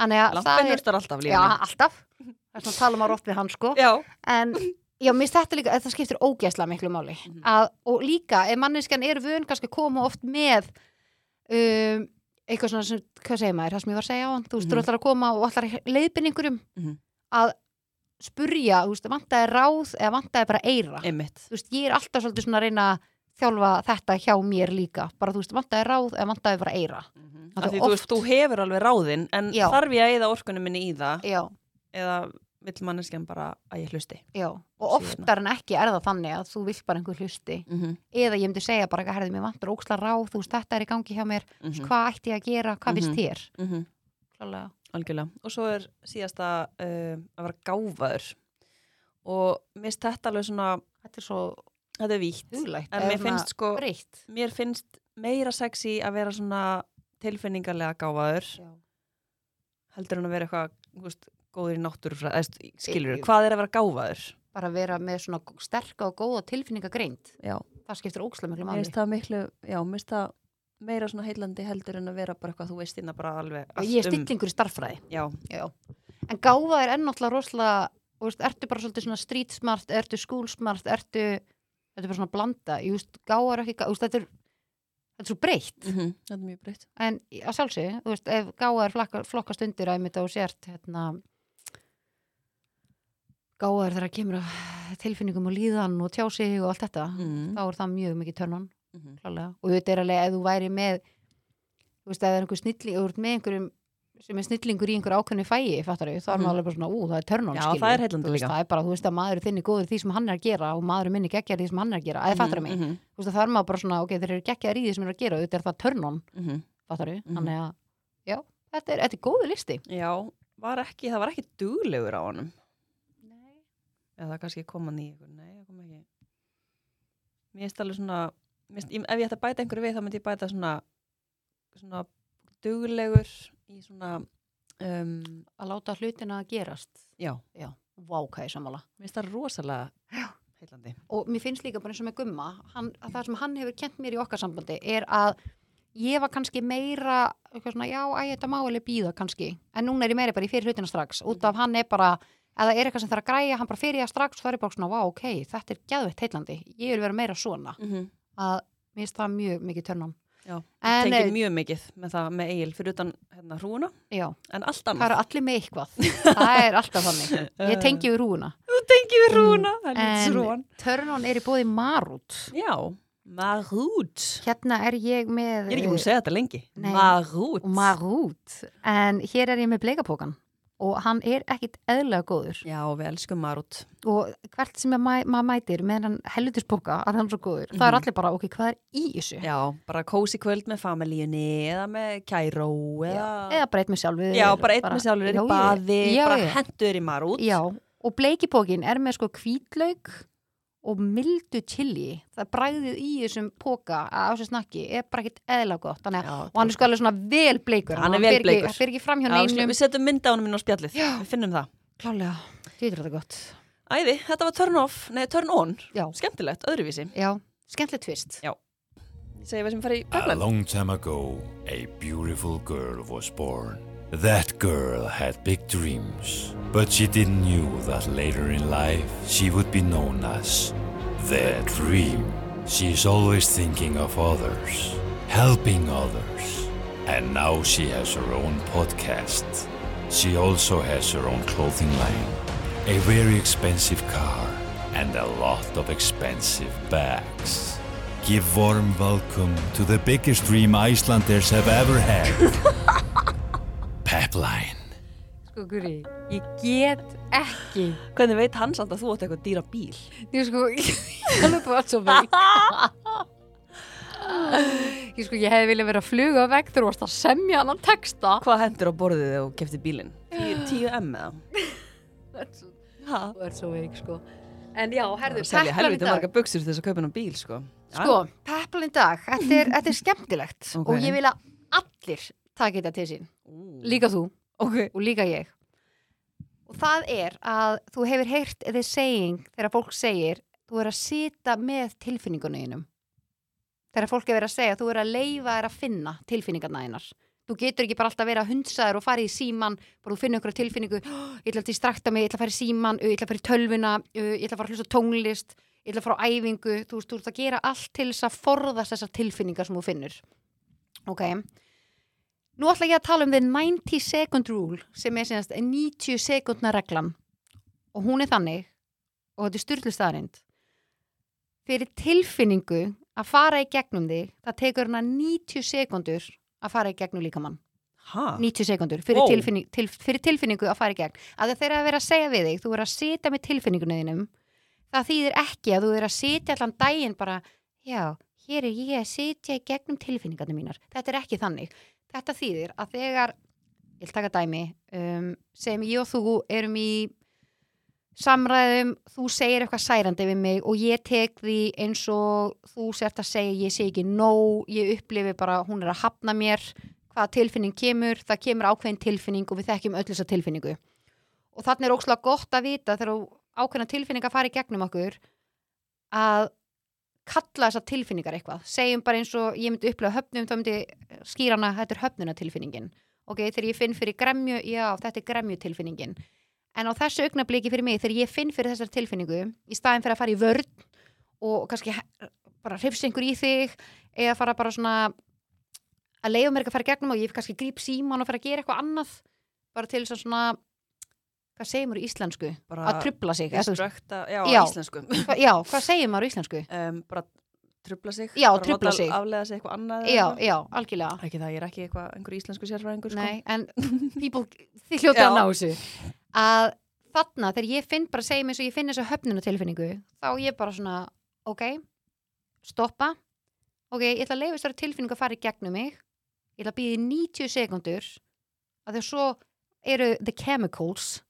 S5: Þannig að það
S4: lampin
S5: er,
S4: hlustar alltaf
S5: já,
S4: lífið.
S5: alltaf, það er svona tala maður oft við hann, sko.
S4: Já.
S5: en já, mér finnst þetta líka, þetta skiptir ógæsla miklu máli
S4: Mhm.
S5: að, og líka, ef manneskjan er vön kannski að koma oft með um, eitthvað svona sem, hvað segir maður, það sem ég var að segja á hann þú veist, þú
S4: Mhm.
S5: ætlar að koma og ætlar að leiðbinn einhverjum
S4: Mhm.
S5: að spurja, þú veist, vantaði ráð eða vantaði bara eira
S4: Einmitt.
S5: Ah. þú veist, ég er alltaf svolítið svona að reyna að þjálfa þetta hjá mér líka bara, þú veist, vantaði ráð eða vantaði bara eira
S4: Mhm. Af
S5: Af
S4: Því
S5: því
S4: þú,
S5: oft-
S4: veist, þú hefur alveg ráðin, en
S5: Já.
S4: þarf ég að eyða orkunum minni í það
S5: já,
S4: eða vill manneskjan bara að ég hlusti?
S5: já,
S4: Síðan.
S5: og oftar en ekki er það þannig að þú vilt bara einhver hlusti
S4: Mm -hmm.
S5: eða ég myndi segja bara, herði, mér vantur óksla ráð, þú veist, þetta er í gangi hjá mér, mm hvað ætti ég að gera, hvað finnst
S4: Mhm.
S5: þér?
S4: Mm -hmm.
S5: Klálega.
S4: Algjörlega. Og svo er síðasta uh, að vera gáfaður. Og mér finnst þetta alveg svona,
S5: Þetta er svo
S4: þetta er vítt.
S5: huglægt.
S4: En mér finnst sko,
S5: Breytt.
S4: mér finnst meira sexy að vera svona tilfinningarlega gáfaður heldur en að vera eitthvað, þú veist, góður í náttúrufræð, eða skilur,
S5: Ég-
S4: hvað er að vera gáfaður?
S5: Bara vera með svona sterka og góða tilfinningagreind.
S4: Já,
S5: Það skiptir óksla miklu
S4: mér
S5: máli.
S4: finnst það miklu, já, mér finnst það meira svona heillandi heldur en að vera bara eitthvað, þú veist þína bara alveg allt
S5: Ég er
S4: um.
S5: stillingur í starffræði.
S4: Já,
S5: Já. En gáfa er ennáttúrulega rosalega, þú veist, ertu bara svolítið svona street smart, ertu school smart, ertu, þetta er bara svona blanda. Ég veist, gáfa er ekki, gá- þú veist, þetta er, þetta er svo breytt.
S4: þetta er mjög breytt.
S5: en í- að sjálfsögðu, þú veist, ef gáðar flokkast undir að einmitt á sért hérna gáðar þegar kemur að tilfinningum og líðan og tjási og allt þetta,
S4: Mm.
S5: þá er það mjög mikið törnun,
S4: Mhm.
S5: klálega, og þetta er alveg ef þú væri með, þú veist, ef það er einhver snilling, þú ert með einhverjum sem er snillingur í einhver ákveðni fæi, fattar þá er
S4: Mhm.
S5: maður alveg bara svona, ú, það er törnun
S4: Já, það er heillandi líka.
S5: það er bara, þú veist, að maður þinn er góður í því sem hann er að gera og maður minni geggjar því sem hann er að gera, eða fattar mig,
S4: Mhm,
S5: þú veist, það er maður bara svona, ok, þeir eru geggjar í því sem þeir eru að gera, þetta er það törnun
S4: mhm.
S5: fattaru,
S4: Mhm.
S5: þannig að já, þetta er, þetta er góðu listi
S4: Já, var ekki, það var ekki duglegur á honum. Eða það kannski kom hann í ykkur. Nei, það kom ekki. Mér finnst alveg svona, mér finnst, ef ég ætti að bæta einhverju við þá myndi ég bæta svona, svona duglegur í svona, um,
S5: að láta hlutina gerast
S4: já,
S5: vákæði sammála
S4: mér finnst það rosalega heilandi.
S5: og mér finnst líka bara eins og með Gumma hann, að það sem hann hefur kent mér í okkar sambandi er að ég var kannski meira eitthvað svona, já, æ, þetta má alveg býða kannski, en núna er ég meira bara í fyrir hlutina strax út af hann er bara, ef það er eitthvað sem þarf að græja hann bara fyrir ég strax, þá er ég bara svona, vá, ok þetta er geðveitt heitlandi, ég vil vera meira svona
S4: Mm -hmm.
S5: að mér finnst það mjög mikið törnum,
S4: Já,
S5: Mhm. En,
S4: það
S5: eh,
S4: tengir mjög mikið með það með eigil fyrir utan hérna hrúuna,
S5: já,
S4: en allt
S5: það
S4: annað.
S5: eru allir með eitthvað það er alltaf þannig, ég tengi við rúuna
S4: Þú tengir við hrúuna, það er
S5: En-
S4: lítið hrúan.
S5: Törnón er í bóði Marút.
S4: Já, marút.
S5: Hérna er ég með
S4: Ég er ekki búin að segja þetta lengi.
S5: Eh, Nei.
S4: Marút.
S5: Marút. En hér er ég með bleikapókan og hann er ekkit eðlega góður.
S4: Já, við elskum marút.
S5: Og hvert sem ég mæ- maður mætir með hann hellutisbóka að hann er svo góður, það er allir bara, ok, hvað er í þessu?
S4: Mhm. Já, bara kósi kvöld með familíunni eða með kæró eða...
S5: Eða bara eitt með sjálfur.
S4: já, bara einn með sjálfur er
S5: Já,
S4: í
S5: ég-
S4: baði,
S5: já,
S4: bara
S5: já.
S4: hendur í marút.
S5: Já, og bleikipókin er með sko kvítlauk og mildu chili. Það bræðið í þessum póka á þessu snakki er bara ekkit eðlega gott. Þannig að,
S4: Já,
S5: og hann er sko alveg svona vel bleikur.
S4: Hann er vel
S5: fer ekki-
S4: bleikur.
S5: Hann fyrir ekki fram hjá
S4: Já,
S5: neinum.
S4: slú- við setjum mynda á honum inn á spjallið, við finnum það.
S5: Klálega, þetta er þetta gott.
S4: Æði, þetta var turn off, nei turn on,
S5: Já.
S4: skemmtilegt, öðruvísi.
S5: Já, skemmtilegt tvist.
S4: Ég segi við sem farið í
S3: A
S4: kaklan.
S3: long time ago, a beautiful girl was born. That girl had big dreams, but she didn't knew that later in life she would be known as the dream. She is always thinking of others, helping others, and now she has her own podcast. She also has her own clothing line, a very expensive car, and a lot of expensive bags. Give warm welcome to the biggest dream Icelanders have ever had. Pepline.
S5: Sko, Guri, ég get ekki.
S4: Hvernig veit hann samt að þú átt eitthvað dýra bíl?
S5: Ég sko, ég alveg bara svo veik. Ég sko, ég hefði viljað vera að fluga vekk þegar þú varst að semja annan texta.
S4: Hvað hendur á borðið þegar þú keftir bílinn? 10M eða? Ha?
S5: Þú ert svo veik, sko. En já, herðu,
S4: Selja
S5: peplan í
S4: helviti
S5: dag.
S4: marga buksur til þess að kaupa hennar bíl, sko. Já.
S5: Sko, peplan í dag, þetta er, þetta er skemmtilegt
S4: Ok.
S5: og ég vil að allir taki þetta til sín. Líka þú.
S4: Ok.
S5: og líka ég og það er að þú hefur heyrt the saying þegar fólk segir þú er að sita með tilfinningunum þínum þegar fólk er verið að segja þú er að leifa er að finna tilfinningarna þínar þú getur ekki bara alltaf verið að hunsa þér og fara í síman bara þú finnur ykkur tilfinningu ég ætla að distrakta mig, ég ætla að fara í síman ég ætla að fara í tölvuna, ö, ég ætla að fara að hlusta á tónlist ég ætla að fara á æfingu þú veist, þú ert að gera allt til þess að forðast þessar tilfinningar sem þú finnur ok, Nú ætla ég að tala um the 90 second rule sem er sínast 90 sekundna reglan og hún er þannig og þetta er styrlustarind fyrir tilfinningu að fara í gegnum þig það tekur hana 90 sekundur að fara í gegnum líkamann
S4: Ha?
S5: 90 sekundur fyrir,
S4: Vó.
S5: tilfinning, til, fyrir tilfinningu að fara í gegn að þeir eru að vera að segja við þig þú er að sitja með tilfinningunum þínum það þýðir ekki að þú er að sitja allan daginn bara, já, hér er ég að sitja í gegnum tilfinningarnir mínar þetta er ekki þannig, þetta þýðir að þegar, ég vil taka dæmi um, sem ég og þú erum í samræðum þú segir eitthvað særandi við mig og ég tek því eins og þú sért að segja ég sé ekki nóg, ég upplifi bara hún er að hafna mér hvaða tilfinning kemur, það kemur ákveðin tilfinning og við þekkjum öll þessa tilfinningu og þannig er ókslega gott að vita þegar þú- ákveðna tilfinningar fara í gegnum okkur að kalla þessar tilfinningar eitthvað segjum bara eins og ég myndi upplega höfnum þá myndi ég skýra hana, þetta er höfnuna tilfinningin ok, þegar ég finn fyrir gremju já, þetta er gremju tilfinningin en á þessu augnabliki fyrir mig, þegar ég finn fyrir þessar tilfinningu, í staðin fyrir að fara í vörn og kannski he- bara hrifst einhver í þig eða fara bara svona að leiða mér ekki að fara í gegnum og ég kannski gríp síman og fara að gera eitthvað annað bara til þess að svona hvað segir maður í íslensku?
S4: Bara
S5: að trubla sig eða þú veist-
S4: Distracta, já,
S5: Já.
S4: á íslensku.
S5: Hva- já, hvað segir maður í íslensku?
S4: Um, bara trubla sig.
S5: Já,
S4: bara
S5: trufla
S4: láta
S5: sig.
S4: Aflega sig eitthvað annað. eða
S5: já,
S4: eitthvað.
S5: já, algjörlega
S4: Ekki það, ég er ekki eitthvað einhver íslensku sérfræðingur, sko.
S5: Nei, en people, þið hljóta að
S4: Já.
S5: ná þessu að þarna, þegar ég finn bara segjum eins og ég finn þessu höfnuna tilfinningu þá ég bara svona, ok stoppa ok, ég ætla að leifa þessari tilfinningu að fara í gegnum mig ég ætla að býði 90 sekundur að því að svo eru the chemicals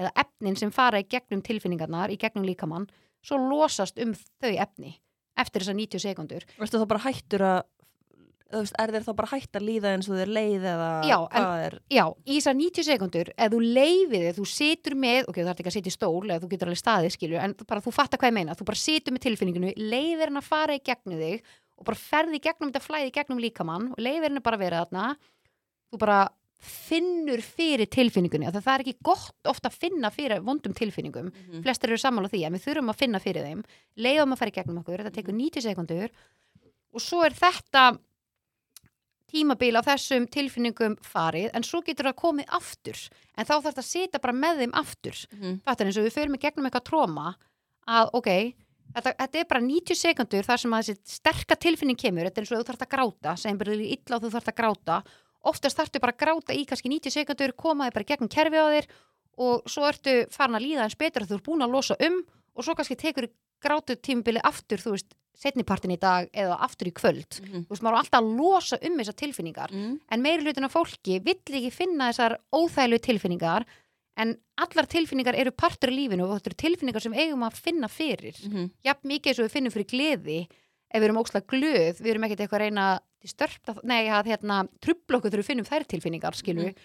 S5: eða efnin sem fara í gegnum tilfinningarnar í gegnum líkamann, svo losast um þau efni eftir þessar 90 sekundur
S4: Verstu þá bara hættur að, þú veist, er þér þá bara hætt að líða eins og þér leið eða
S5: Já, en-
S4: hvað er?
S5: Já, í þessar 90 sekundur, ef þú leifið þig, þú situr með, ok, þú þarf ekki að sitja í stól eða þú getur alveg staðið, skilju, en þú bara þú fattar hvað ég meina, þú bara situr með tilfinninginu, leifir henn að fara í gegnum þig og bara ferði í gegnum þetta flæði í gegnum líkamann og leifir henn að bara vera þarna, þú bara finnur fyrir tilfinninginu, af því að það er ekki gott ofta að finna fyrir vondum tilfinningum, flestir eru sammála því að við þurfum að finna fyrir þeim, leifum að fara í gegnum okkur, þetta tekur 90 sekundur og svo er þetta tímabil á þessum tilfinningum farið en svo getur það komið aftur en þá þarf það að sita bara með þeim aftur
S4: Mhm.
S5: þetta er eins og við förum í gegnum eitthvað tróma að ok, þetta, þetta er bara 90 sekundur þar sem að þessi sterka tilfinning kemur, þetta er eins og þú þarf að gráta sem bara er illa og þú þarf að gráta oftast þarf bara að gráta í kannski 90 sekundur koma þið bara í gegnum kerfi á þér og svo ertu farin að líða eins betur að þú ert búin að losa um og svo kannski tekur grátu tímabili aftur, þú veist, setnipartin í dag eða aftur í kvöld
S4: Mhm.
S5: þú veist, maður á alltaf að losa um þessar tilfinningar
S4: Mm.
S5: en meiri hlutin af fólki vill ekki finna þessar óþæglu tilfinningar en allar tilfinningar eru partur í lífinu og þetta eru tilfinningar sem eigum að finna fyrir
S4: Mhm.
S5: jafn mikið eins og við finnum fyrir gleði ef við erum ókslega glöð, við erum ekkert eitthvað að reyna til störpa, nei að hérna trubla okkur þegar við finnum þær tilfinningar skilur við,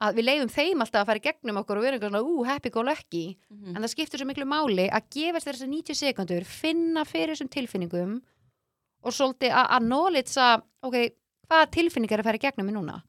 S5: að við leifum þeim alltaf að fara í gegnum okkur og við erum eitthvað svona, ú, happy go lucky en það skiptir svo miklu máli að gefast þér þessar 90 sekundur, finna fyrir þessum tilfinningum og svolítið að acknowledge að, ok, hvaða tilfinningar er að fara í gegnum mig núna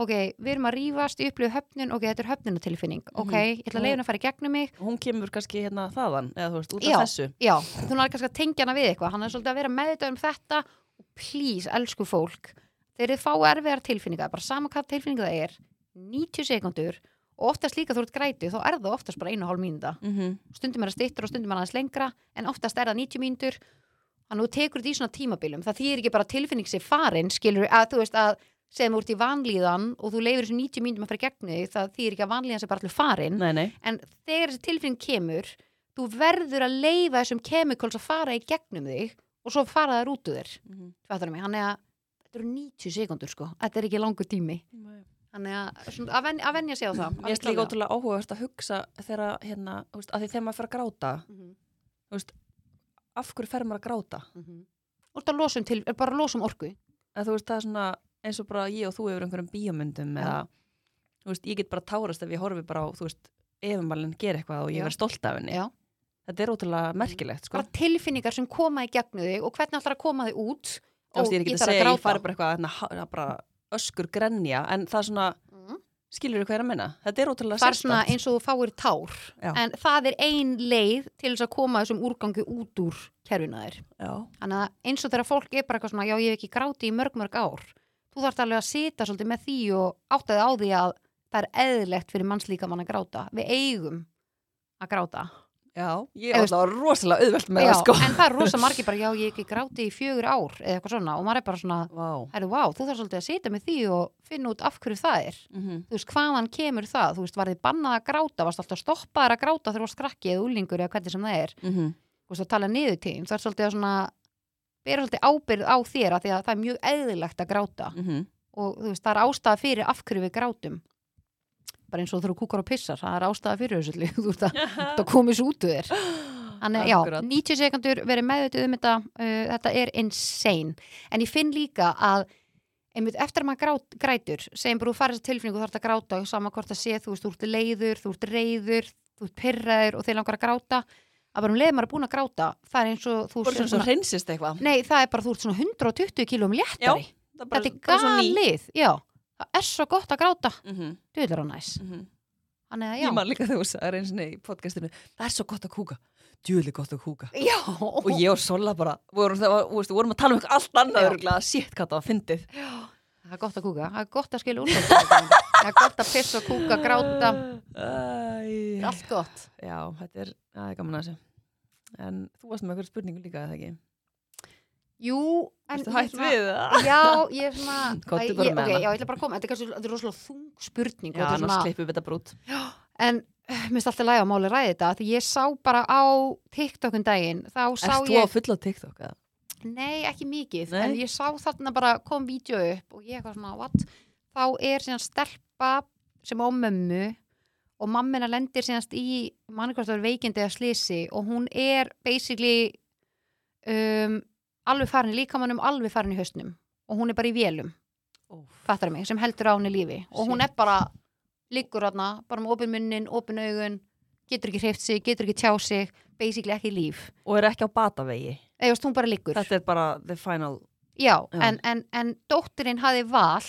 S5: ok, við erum að rífast, ég upplifu höfnun ok, þetta er höfnunatilfinning, ok, ég ætla að leifin að fara í gegnum mig
S4: Hún kemur kannski hérna þaðan, eða þú veist, út af
S5: Já.
S4: þessu.
S5: Já, þú náður kannski að tengja hana við eitthvað hann er svolítið að vera meðvitað um þetta og please, elsku fólk þeir eru fá erfiðar tilfinningar, bara sama hvað tilfinninga það er 90 sekundur og oftast líka þú ert grætið, þá er það oftast bara einu og hálf mínúta
S4: Mm.
S5: stundum er það stittur og stundum er það aðeins lengra en oftast er það 90 mínútur þannig að þú tekur þetta í svona tímabilum það þýðir ekki bara að tilfinning sér farin skilur að þú veist að segðum úr í vanlíðan og þú leifir þessu 90 mínútum að fara í gegni þig, það þýðir ekki að vanlíðan sér bara allir farin
S4: Nei, nei.
S5: en þegar þessi tilfinning kemur þú verður að leifa þessum chemicals að fara í gegnum þig og svo fara þær út úr þér
S4: Mhm.
S5: fattar mig, hann er að þetta eru 90 sekundur sko, þetta er ekki langur tími þannig að, svona, að, venja, að venja sig á það
S4: Mér finnst líka ótrúlega áhugavert að hugsa þegar, hérna, þú veist, að því þegar maður fer að gráta,
S5: ótrúlega
S4: þú veist, af hverju fer maður að gráta?
S5: Mhm. Þú ert að losa um til, er bara að losa um orku
S4: Að þú veist, það er svona eins og bara ég og þú yfir einhverjum bíómyndum eða, þú veist, ég get bara tárast ef ég horfi bara á, þú veist, efumalinn gera eitthvað og ég
S5: Já.
S4: verð stolt af henni.
S5: Já.
S4: Þetta er ótrúlega merkilegt, sko.
S5: bara tilfinningar sem koma í gegnum þig og hvernig ætlar að koma þig út
S4: Þú veist, ég er ekki að segja, að ég fari
S5: gráta
S4: bara eitthvað, hérna, ha- bara öskur grenja, en það er svona,
S5: Mhm.
S4: skilur þú hvað ég er að menna? Þetta er ótrúlega
S5: það er svona
S4: sérstakt.
S5: eins og þú fáir tár
S4: Já.
S5: en það er ein leið til þess að koma þessum úrgangi út úr kerfina þér
S4: Já.
S5: Þannig að eins og þegar fólk er bara eitthvað svona, já ég hef ekki gráti í mörg mörg ár, þú þarft alveg að sita svolítið með því og áttaði á því að það er eðlilegt fyrir mannslíkamann að gráta. Við eigum að gráta.
S4: Já, ég
S5: Eða
S4: er
S5: veist-
S4: alltaf rosalega auðvelt með
S5: já,
S4: það, sko.
S5: En það er rosa margir bara, já ég hef ekki gráti í fjögur ár eða eitthvað svona og maður er bara svona,
S4: Vá.
S5: herru, vá, þú þarft svolítið að sita með því og finna út af hverju það er.
S4: Mhm,
S5: Þú veist, hvaðan kemur það? Þú veist, var þið bannað að gráta? Varst alltaf stoppaðar að gráta þegar þú varst krakki eða úlingur eða hvernig sem það er?
S4: Mhm.
S5: þú veist, að tala niður til þín, það er svolítið að svona bera svolítið ábyrð á þér að því að það er mjög eðlilegt að gráta
S4: Mhm.
S5: og þú veist, það er ástæða fyrir af hverju við grátum bara eins og þú eru kúkar og pissar það er ástæða fyrir þessu öllu, þú veist að það komið svo út úr þér Þannig, já,
S4: Akkurat.
S5: 90 sekundur verið meðvitið um þetta uh, þetta er insane en ég finn líka að einmitt eftir að maður grát, grætur segjum bara þú farið þessa tilfinningu þú þarf að gráta og sama hvort það sé, þú veist, þú ert leiður þú ert reyður, þú ert pyrraður og þeir langar að gráta að bara um leiðum maður er búin að gráta það er eins og þú
S4: Bara svona svo hreinsist eitthvað.
S5: nei, það er bara þú ert svona 120 kílum léttari
S4: Það er
S5: þetta er galið, já það er svo gott að gráta,
S4: Mm -hmm.
S5: duður á næs þannig að
S4: Mhm. Ég
S5: já,
S4: man líka þegar þú sagði eins og í podcastinu, það er svo gott að kúka, djúli gott að kúka.
S5: já
S4: Og ég og Sola bara, vorum, það, var, þú veist, við vorum að tala um eitthvað allt annað
S5: Já.
S4: örgulega, shit hvað það var fyndið.
S5: það er gott að kúka, það er gott að skilja úrlega það er gott að pissa, kúka, gráta
S4: Æ.
S5: Það er allt gott
S4: Já, þetta er, það er gaman að þessu. En þú varst með eitthvað spurningu líka, eða ekki?
S5: Jú, en
S4: Ertu
S5: ég
S4: hætt
S5: svona-
S4: við það?
S5: Já, ég er svona
S4: Komdu
S5: Æ,
S4: bara
S5: ég,
S4: með
S5: ok,
S4: hana.
S5: Já, ég ætla bara að koma, þetta er kannski þetta er rosalega þung spurning og
S4: Já,
S5: þetta er
S4: annars
S5: svona-
S4: klippum við þetta brút.
S5: En uh, mér finnst alltaf læg á máli ræði þetta Því ég sá bara á TikTokun daginn Þá sá
S4: Erst þú á
S5: ég,
S4: fulla TikTok, eða?
S5: nei ekki mikið
S4: Nei.
S5: En ég sá þarna bara kom vídeo upp Og ég eitthvað svona, what Þá er síðan stelpa sem á mömmu Og mammina lendir síðanst í Mannigkvartur veikindi að slisi Og hún er basically um, Alveg farin í líkamannum Alveg farin í höstnum Og hún er bara í vélum fattar mig, sem heldur á henni lífi og hún er bara, liggur hana bara með opin munnin, opin augun getur ekki hreift sig, getur ekki tjá sig basically ekki líf,
S4: Og er ekki á batavegi.
S5: eða þú veist, hún bara liggur
S4: Þetta er bara the final.
S5: já,
S4: Já.
S5: En, en, en dóttirinn hafi val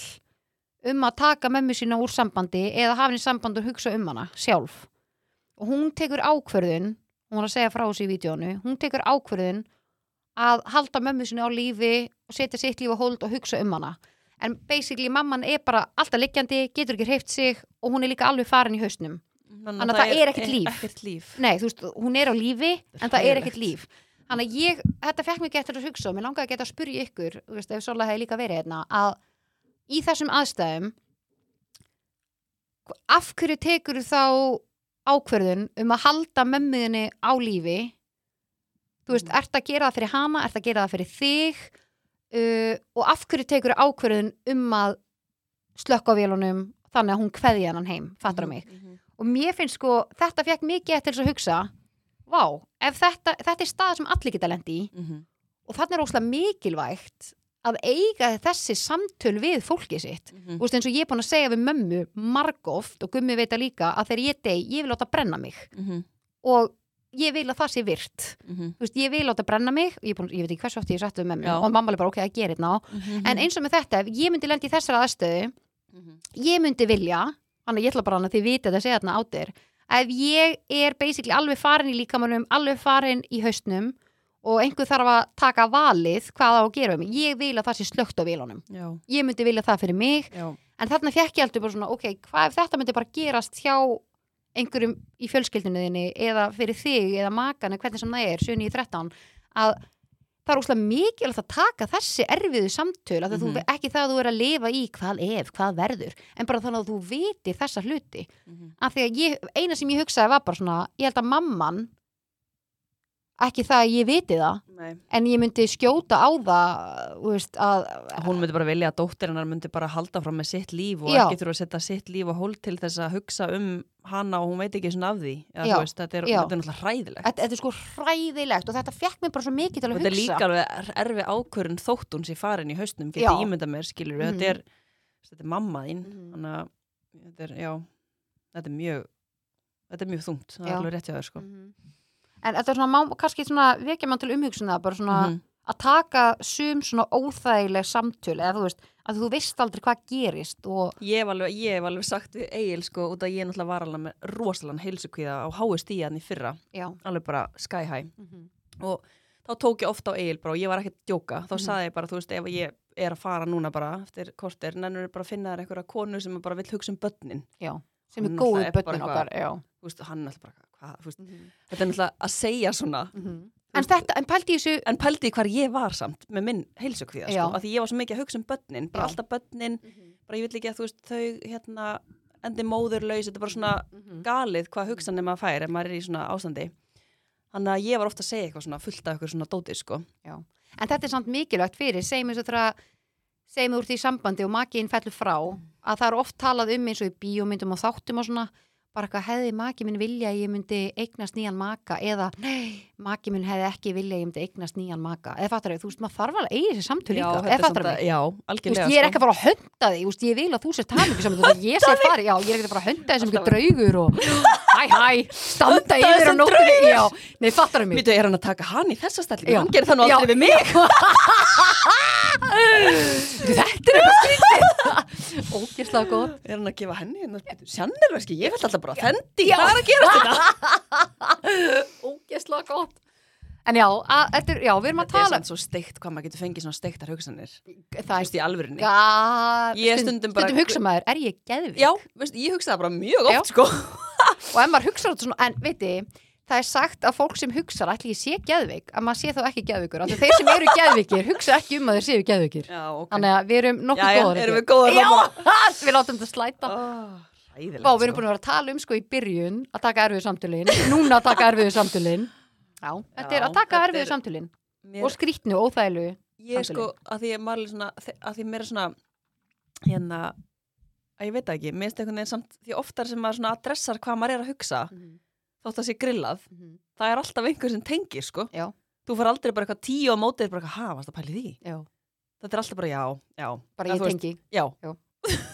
S5: um að taka mömmu sína úr sambandi eða hafa henni samband og hugsa um hana sjálf og hún tekur ákverðun hún er að segja frá þessu í vídjónu hún tekur ákverðun að halda mömmu sinni á lífi og setja sitt líf á hold og hugsa um hana en basically mamman er bara alltaf liggjandi, getur ekki hreift sig og hún er líka alveg farin í hausnum
S4: Þannig
S5: Þannig að það er ekkert líf.
S4: e- Ekkert líf.
S5: Nei, þú veist, hún er á lífi en það er
S4: hræðilegt.
S5: ekkert líf Þannig að ég, þetta fekk mér getur að hugsa og mér langaði að geta að spyrja ykkur þú veist, ef svolítið hefði líka verið hérna að í þessum aðstæðum af hverju tekur þá ákverðun um að halda mömmuðinni á lífi þú veist, ert að gera það fyrir hana ert að gera það fyrir þig uh, og af hverju tekur ákverðun um að slökka á vélunum þannig að hún kveði hennan heim fattur mig
S4: Mhm.
S5: og mér finnst sko, þetta fekk mikið eftir þess að hugsa vá, ef þetta, þetta er stað sem allir geta lendi í
S4: Mhm.
S5: og þannig er óslega mikilvægt að eiga þessi samtöl við fólkið sitt
S4: Mhm.
S5: og eins og ég er búin að segja við mömmu margóft og gummi veita líka að þegar ég dey, ég vil láta brenna mig
S4: Mhm.
S5: og ég vil að það sé virt
S4: Mhm.
S5: Þú veist, ég vil láta brenna mig, ég, er búin, ég veit ekki hversu oft ég hef sagt við mömmu
S4: Já.
S5: og mamma er bara ok að gera þetta
S4: Mhm.
S5: en eins og með þetta, ef ég myndi lendi í þessari aðstöðu
S4: Mhm.
S5: ég myndi vilja þannig að ég ætla bara hann að þið vita þetta að segja þarna á þér ef ég er basically alveg farin í líkamannum, alveg farin í haustnum og einhver þarf að taka valið hvað á að gera um, ég vil að það sé slögt á vilunum
S4: Já,
S5: ég myndi vilja það fyrir mig,
S4: já.
S5: en þarna fekk ég aldrei bara svona ok, hvað ef þetta myndi bara gerast hjá einhverjum í fjölskyldinu þinni eða fyrir þig eða makan eða hvernig sem það er, 7, 9, 13 að það er óslega mikilvægt að taka þessi erfiðu samtöl, að mm
S4: Mhm.
S5: þú, ekki það að þú er að lifa í hvað ef, hvað verður en bara þannig að þú vitir þessa hluti
S4: Mhm.
S5: af því að ég, eina sem ég hugsaði var bara svona, ég held að mamman ekki það að ég viti það
S4: Nei.
S5: en ég myndi skjóta á það þú veist, að,
S4: Hún myndi bara vilja að dóttirinnar myndi bara halda fram með sitt líf og
S5: Já.
S4: ekki þurfa að setja sitt líf á hól til þess að hugsa um hana og hún veit ekki svona af því. Eða,
S5: Já.
S4: þú Veist, þetta, er, þetta
S5: Já.
S4: er náttúrulega hræðilegt.
S5: þetta, þetta er sko hræðilegt og þetta fekk mér bara svo mikið til
S4: og
S5: að
S4: þetta er
S5: hugsa
S4: líka alveg erfi ákvörun þótt hún sér farin í hausnum,
S5: Já.
S4: geti ímynda mér skilur mm. þetta, er, þetta er mamma þín
S5: Mhm.
S4: þannig að þetta er, já þetta er mjög þetta er mjög þungt, það er
S5: Já.
S4: alveg rétt hjá þér sko
S5: Mhm. en þetta er svona, má, kannski svona vekja mann til umhugsunar, bara svona
S4: Mhm.
S5: að taka sum svona óþægileg samtöl eða þú veist, að þú veist aldrei hvað gerist og
S4: Ég hef alveg, ég hef alveg sagt við Egil sko út að ég náttúrulega var alveg með rosalan heilsukvíða á háist í hann í fyrra
S5: já,
S4: alveg bara sky high
S5: Mhm.
S4: og þá tók ég ofta á Egil bara og ég var ekki að djóka þá
S5: Mhm.
S4: saði ég bara, þú veist, ef ég er að fara núna bara eftir kortir, nennur bara að finna þér einhverja konu sem bara vill hugsa um börnin
S5: já sem
S4: Hún
S5: er
S4: náttúrulega
S5: góðu
S4: Mm, er bara
S5: börnin
S4: eitthvað-
S5: okkar já.
S4: þú veist, hann er alltaf bara, hvað, þú veist
S5: Mhm.
S4: þetta er náttúrulega að segja svona
S5: en þetta, en pældi í þessu
S4: en pældi í hvar ég var samt með minn heilsukvíða sko,
S5: Já.
S4: af því ég var svo mikið að hugsa um börnin bara
S5: Já. Mhm.
S4: alltaf börnin, bara ég vill ekki að þú veist þau hérna endi móðurlaus þetta er bara svona
S5: Mhm.
S4: galið hvað hugsanir maður fær ef maður er í svona ástandi þannig að ég var ofta að segja eitthvað svona fullt af eitthvað svona dótið sko
S5: en þetta er samt mikilvægt fyrir segjum eins og þegar segjum þú ert í sambandi og makiðin fellur frá
S4: Mm.
S5: að það er oft talað um eins og í bíómyndum og þáttum og svona bara eitthvað hefði maki minn vilja að ég myndi eignast nýjan maka eða nei, maki minn hefði ekki vilja að ég myndi eignast nýjan maka eða fattar þau, þú veist, maður þarf alveg að eiga þessi samtöl
S4: já,
S5: líka
S4: þetta
S5: eða
S4: er samt
S5: fattar
S4: að, já,
S5: Þú
S4: algjörlega sko.
S5: veist, ég er ekki að fara að hönda þig, þú veist, ég vil að þú sér tala ekki saman, þú veist, ég sé fari, já, ég er ekki að fara að hönda þig sem ekki draugur og hæ, hæ, standa yfir á nóttunni, já, nei, fattar mig.
S4: Býtu, er hann að taka hann í þessa stællingu?
S5: Já.
S4: Hann gerir það nú aldrei
S5: Já.
S4: við mig.
S5: Þetta er eitthvað skrítið. Ógjörslag gott.
S4: Er hann að gefa henni? hérna? Sjannirverski, ég fælt alltaf bara þendi. Hvað er að hérna? gera þetta?
S5: Ógjörslag gott. En já, að, þetta er, já, við erum að
S4: Þetta er
S5: tala
S4: samt svo steikt hvað maður getur fengið svona steiktar hugsanir. Þú
S5: það er
S4: veist, í alvörunni.
S5: Já,
S4: Ég stundum bara-
S5: Stundum hugsa maður, er ég geðvik?
S4: Já, veist, ég hugsa það bara mjög oft,
S5: Já.
S4: sko.
S5: Og ef maður hugsa þetta svona, en veiti, það er sagt að fólk sem hugsa, ætli ég sé geðvik, að maður sé þá ekki geðvikur. Alltaf þeir sem eru geðvikir, hugsa ekki um að þeir séu geðvikir.
S4: Já, ok.
S5: Þannig að við erum nokkuð
S4: Jæja,
S5: góðar
S4: erum
S5: ekki?
S4: við góðar
S5: Já, við látum þetta slæta
S4: Ræðilegt,
S5: Vá, við erum búin að vera að tala um sko í byrjun að taka erfiðu samtölin, núna að taka erfiðu samtölin Já, þetta er
S4: Já,
S5: að taka
S4: þetta
S5: erfiðu
S4: er-
S5: samtölin
S4: Mér,
S5: og skrýtnu, óþælu
S4: ég sko, að því að maður er svona, að því mér er svona, hérna, að ég veit það ekki, mér finnst einhvern veginn samt, því oftar sem maður svona adressar hvað maður er að hugsa, þótt að sé grillað, það er alltaf einhver sem tengir, sko.
S5: Já.
S4: Þú fær aldrei bara eitthvað tíu á mótið, bara eitthvað, ha, varst að pæli því?
S5: Já,
S4: Þetta er alltaf bara já, já.
S5: bara
S4: Eða
S5: ég
S4: þú veist,
S5: tengi
S4: Já,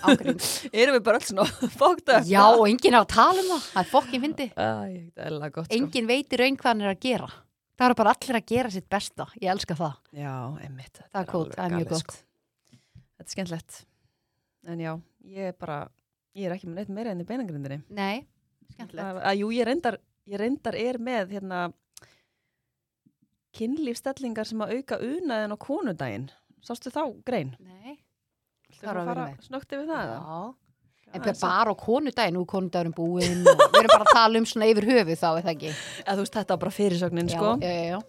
S5: ágrind
S4: erum við bara alls svona fókt að...
S5: Já, og enginn er að tala um það, það er fokkin fyndi
S4: Sko. Æ, þetta er alveg gott, sko.
S5: Enginn veitir raun hvað hann er að gera Það eru bara allir að gera sitt besta, ég elska það
S4: Já, einmitt. þetta
S5: Það er kót,
S4: alveg
S5: það er mjög
S4: galið, sko.
S5: gott
S4: Þetta er skemmtlegt. En já, ég er bara, ég er ekki með neitt meira enn í beinangrindinni.
S5: Nei, skemmtilegt
S4: Að, að jú, ég reyndar, ég reyndar er með hérna kynlífstellingar sem að auka unaðin á konudaginn. Sástu þá grein?
S5: Nei,
S4: Viltu
S5: erum við
S4: fara
S5: með.
S4: snögt yfir það? eða?
S5: já En
S4: Aðeins að-
S5: bara á konudaginn, nú er konudagurinn búinn og við erum bara að tala um svona yfir höfuð þá, er það ekki?
S4: Eða þú veist, þetta var bara fyrirsögnin,
S5: Já,
S4: sko.
S5: Já, já, já.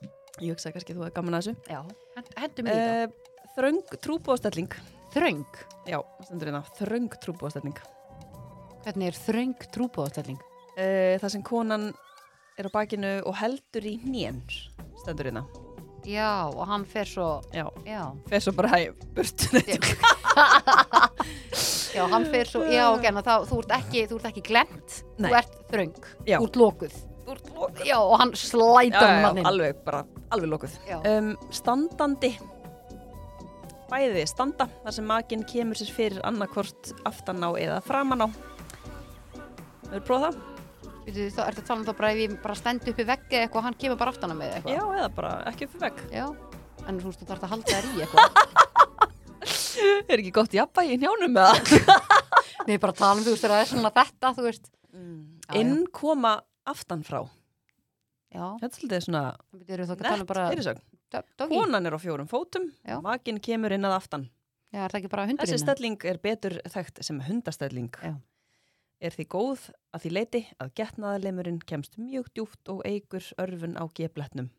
S4: Ég hugsa kannski að þú hefði gaman að þessu.
S5: já. Hent- Hendum í þetta.
S4: Uh, þröng trúbóðstelling.
S5: Þröng.
S4: Já, það stendur hérna. Þröng trúbóðstelling.
S5: Hvernig er þröng trúbóðastelling?
S4: Uh, það sem konan er á bakinu og heldur í nén. Stendur hérna.
S5: Já, og hann fer svo,
S4: Já.
S5: já.
S4: fer svo bara hæg burtun
S5: Já, hann fer svo, já, ok, en þá, þú ert ekki, þú ert ekki glend,
S4: Nei.
S5: þú ert þröng.
S4: Já.
S5: Þú ert lokuð. Já, og hann slætar hann hann inn.
S4: alveg bara, alveg lokuð
S5: Já.
S4: um, standandi bæði standa þar sem makin kemur sér fyrir annarkvort aftan á eða framan á hefur prófað það?
S5: Veitu, þá ertu að tala um þá bara ef ég bara stend upp í veggi eða eitthvað, hann kemur bara aftan á mig eða
S4: já,
S5: eitthvað.
S4: eða bara ekki upp í vegg
S5: Já. En þú veist, þú þarf að halda þær í eitthvað.
S4: er ekki gott jafnvægi í njánum með það
S5: Nei, bara tala um, þú veist, þegar það er svona þetta, þú veist. Já, já.
S4: inn koma aftan frá
S5: Já,
S4: þetta er svolítið svona
S5: þannig að við erum þá ekki að tala
S4: nett
S5: um bara...
S4: fyrirsögn
S5: Doggy.
S4: konan er á fjórum fótum
S5: Já.
S4: makin kemur inn að aftan
S5: Já, er það ekki bara hundurinn?
S4: Þessi stelling er betur þekkt sem hundastelling.
S5: Já.
S4: Er því góð að því leiti að getnaðarleimurinn kemst mjög djúft og eigur örfun á gebletnum.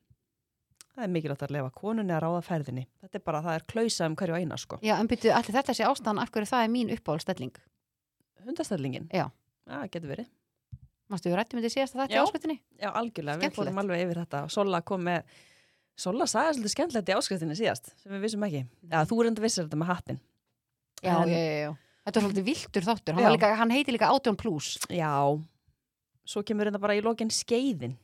S4: Það er mikilvægt að lefa konunni að ráða ferðinni. Þetta er bara, það er klausa um hverju eina, sko.
S5: Já, en byrju, allir þetta sé ástæðan af hverju það er mín uppáhaldstelling.
S4: Hundastellingin?
S5: Já.
S4: Já, það getur verið.
S5: Mástu við rættum þetta síðast að þetta
S4: Já.
S5: er ásköttinni?
S4: Já, algjörlega, við
S5: Skemmtilegt.
S4: fórum alveg yfir þetta. Sola kom með, Sola sagði svolítið skemmtilegt í áskriftinni síðast, sem við vissum ekki.
S5: Mhm.
S4: Já, þú reynda vissir þetta með hattin.
S5: Já,
S4: En-
S5: já, já, já. Þetta er svolítið viltur þáttur. Hann, var
S4: Já.
S5: líka, hann heiti líka 18 plus.
S4: Já, svo kemur þetta bara í lokin skeiðin.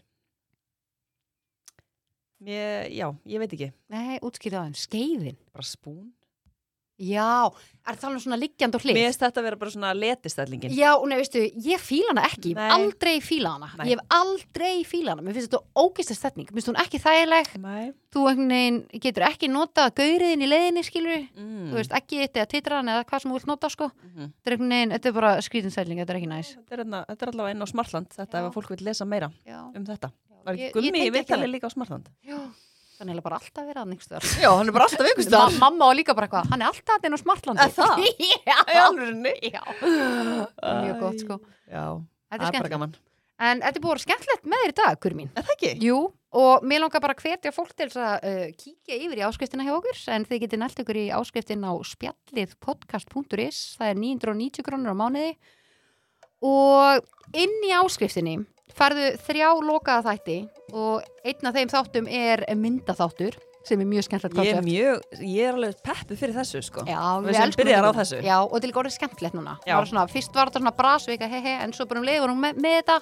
S4: Mér, já, ég veit ekki,
S5: Nei, útskýrðu á hann. Skeiðin.
S4: bara spún.
S5: Já, er það alveg svona liggjandi og hlið?
S4: Mér finnst þetta að vera bara svona letistellingin.
S5: Já, nei, veistu, ég fíla hana ekki, ég
S4: Nei.
S5: hef aldrei fíla hana,
S4: Nei.
S5: ég hef aldrei fíla hana, mér finnst þetta ógeistast þetning, mér finnst hún ekki þægileg,
S4: Nei.
S5: þú einhvern veginn getur ekki nota gauriðin í leiðinni, skilur,
S4: Mm.
S5: þú veist, ekki þetta eða titraðan eða hvað sem þú vilt nota, sko,
S4: Mhm.
S5: þetta er einhvern veginn, þetta er bara skrítin sæling, þetta er ekki næs.
S4: Þetta er, hérna, þetta er allavega inn á Smartland, þetta
S5: Já.
S4: ef að fólk vil lesa meira
S5: Já,
S4: um þetta. Var
S5: Ég-
S4: ekki
S5: ég
S4: gummi
S5: tengi
S4: í
S5: ekki
S4: viðtalið
S5: það.
S4: líka á Smartland?
S5: já, þannig er bara alltaf verið að nýgst þar.
S4: Já, hann er bara alltaf
S5: Ma mamma var líka bara eitthvað, hann er alltaf þetta inn á smartlandi.
S4: Er það?
S5: já, já, mjög gott, sko.
S4: Já,
S5: Þetta er
S4: bara
S5: skemmtilegt.
S4: gaman.
S5: En þetta er búið að vera skemmtilegt með þér í dag, Gurmín.
S4: Er það ekki?
S5: Jú, og mér langar bara að hvetja fólk til þess að uh, kíkja yfir í áskriftina hjá okkur en þið getið nælt ykkur í áskriftin á spjallið.podcast.is það er 990 krónur á mánuði og inn í áskriftinni farðu þrjá lokaða þætti og einn af þeim þáttum er myndaþáttur sem er mjög skemmtilegt
S4: Ég er
S5: konsept.
S4: mjög, ég er alveg peppu fyrir þessu, sko.
S5: Já,
S4: Við
S5: við
S4: sem
S5: elskum
S4: byrjar á
S5: þetta.
S4: þessu.
S5: Já, og þetta er líka orðið skemmtilegt núna
S4: Já.
S5: Var svona, Fyrst var þetta svona brasvika, hei hei, en svo bara um leiðunum með, með þetta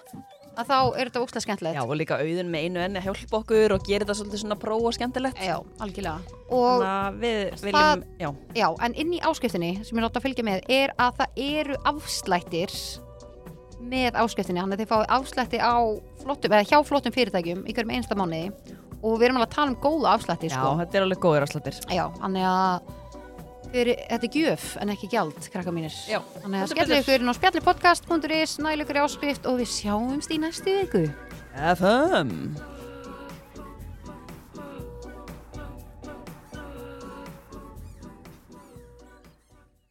S5: að þá er þetta ókslega skemmtilegt
S4: Já, og líka auðin með einu enni að hjálpa okkur og gera þetta svolítið svona pró og skemmtilegt.
S5: Já, algjörlega og
S4: Þannig að við viljum,
S5: Það-
S4: já,
S5: Já, en inn í áskriftinni sem ég láta að fylgja með er að það eru afslættir með áskriftinni, þannig að þið fáið afslætti á flottum, eða hjá flottum fyrirtækjum í hverjum einsta mánuði og við erum alveg að tala um góða afslætti,
S4: já,
S5: sko.
S4: þetta er alveg góður afslættir.
S5: Já, þannig að fyrir, þetta er gjöf en ekki gjald, krakka mínir.
S4: Já,
S5: Þannig að
S4: heldur
S5: skellu
S4: betur.
S5: ykkur inn á spjallipodcast.is, nælu ykkur í áskrift og við sjáumst í næstu viku.
S4: FM!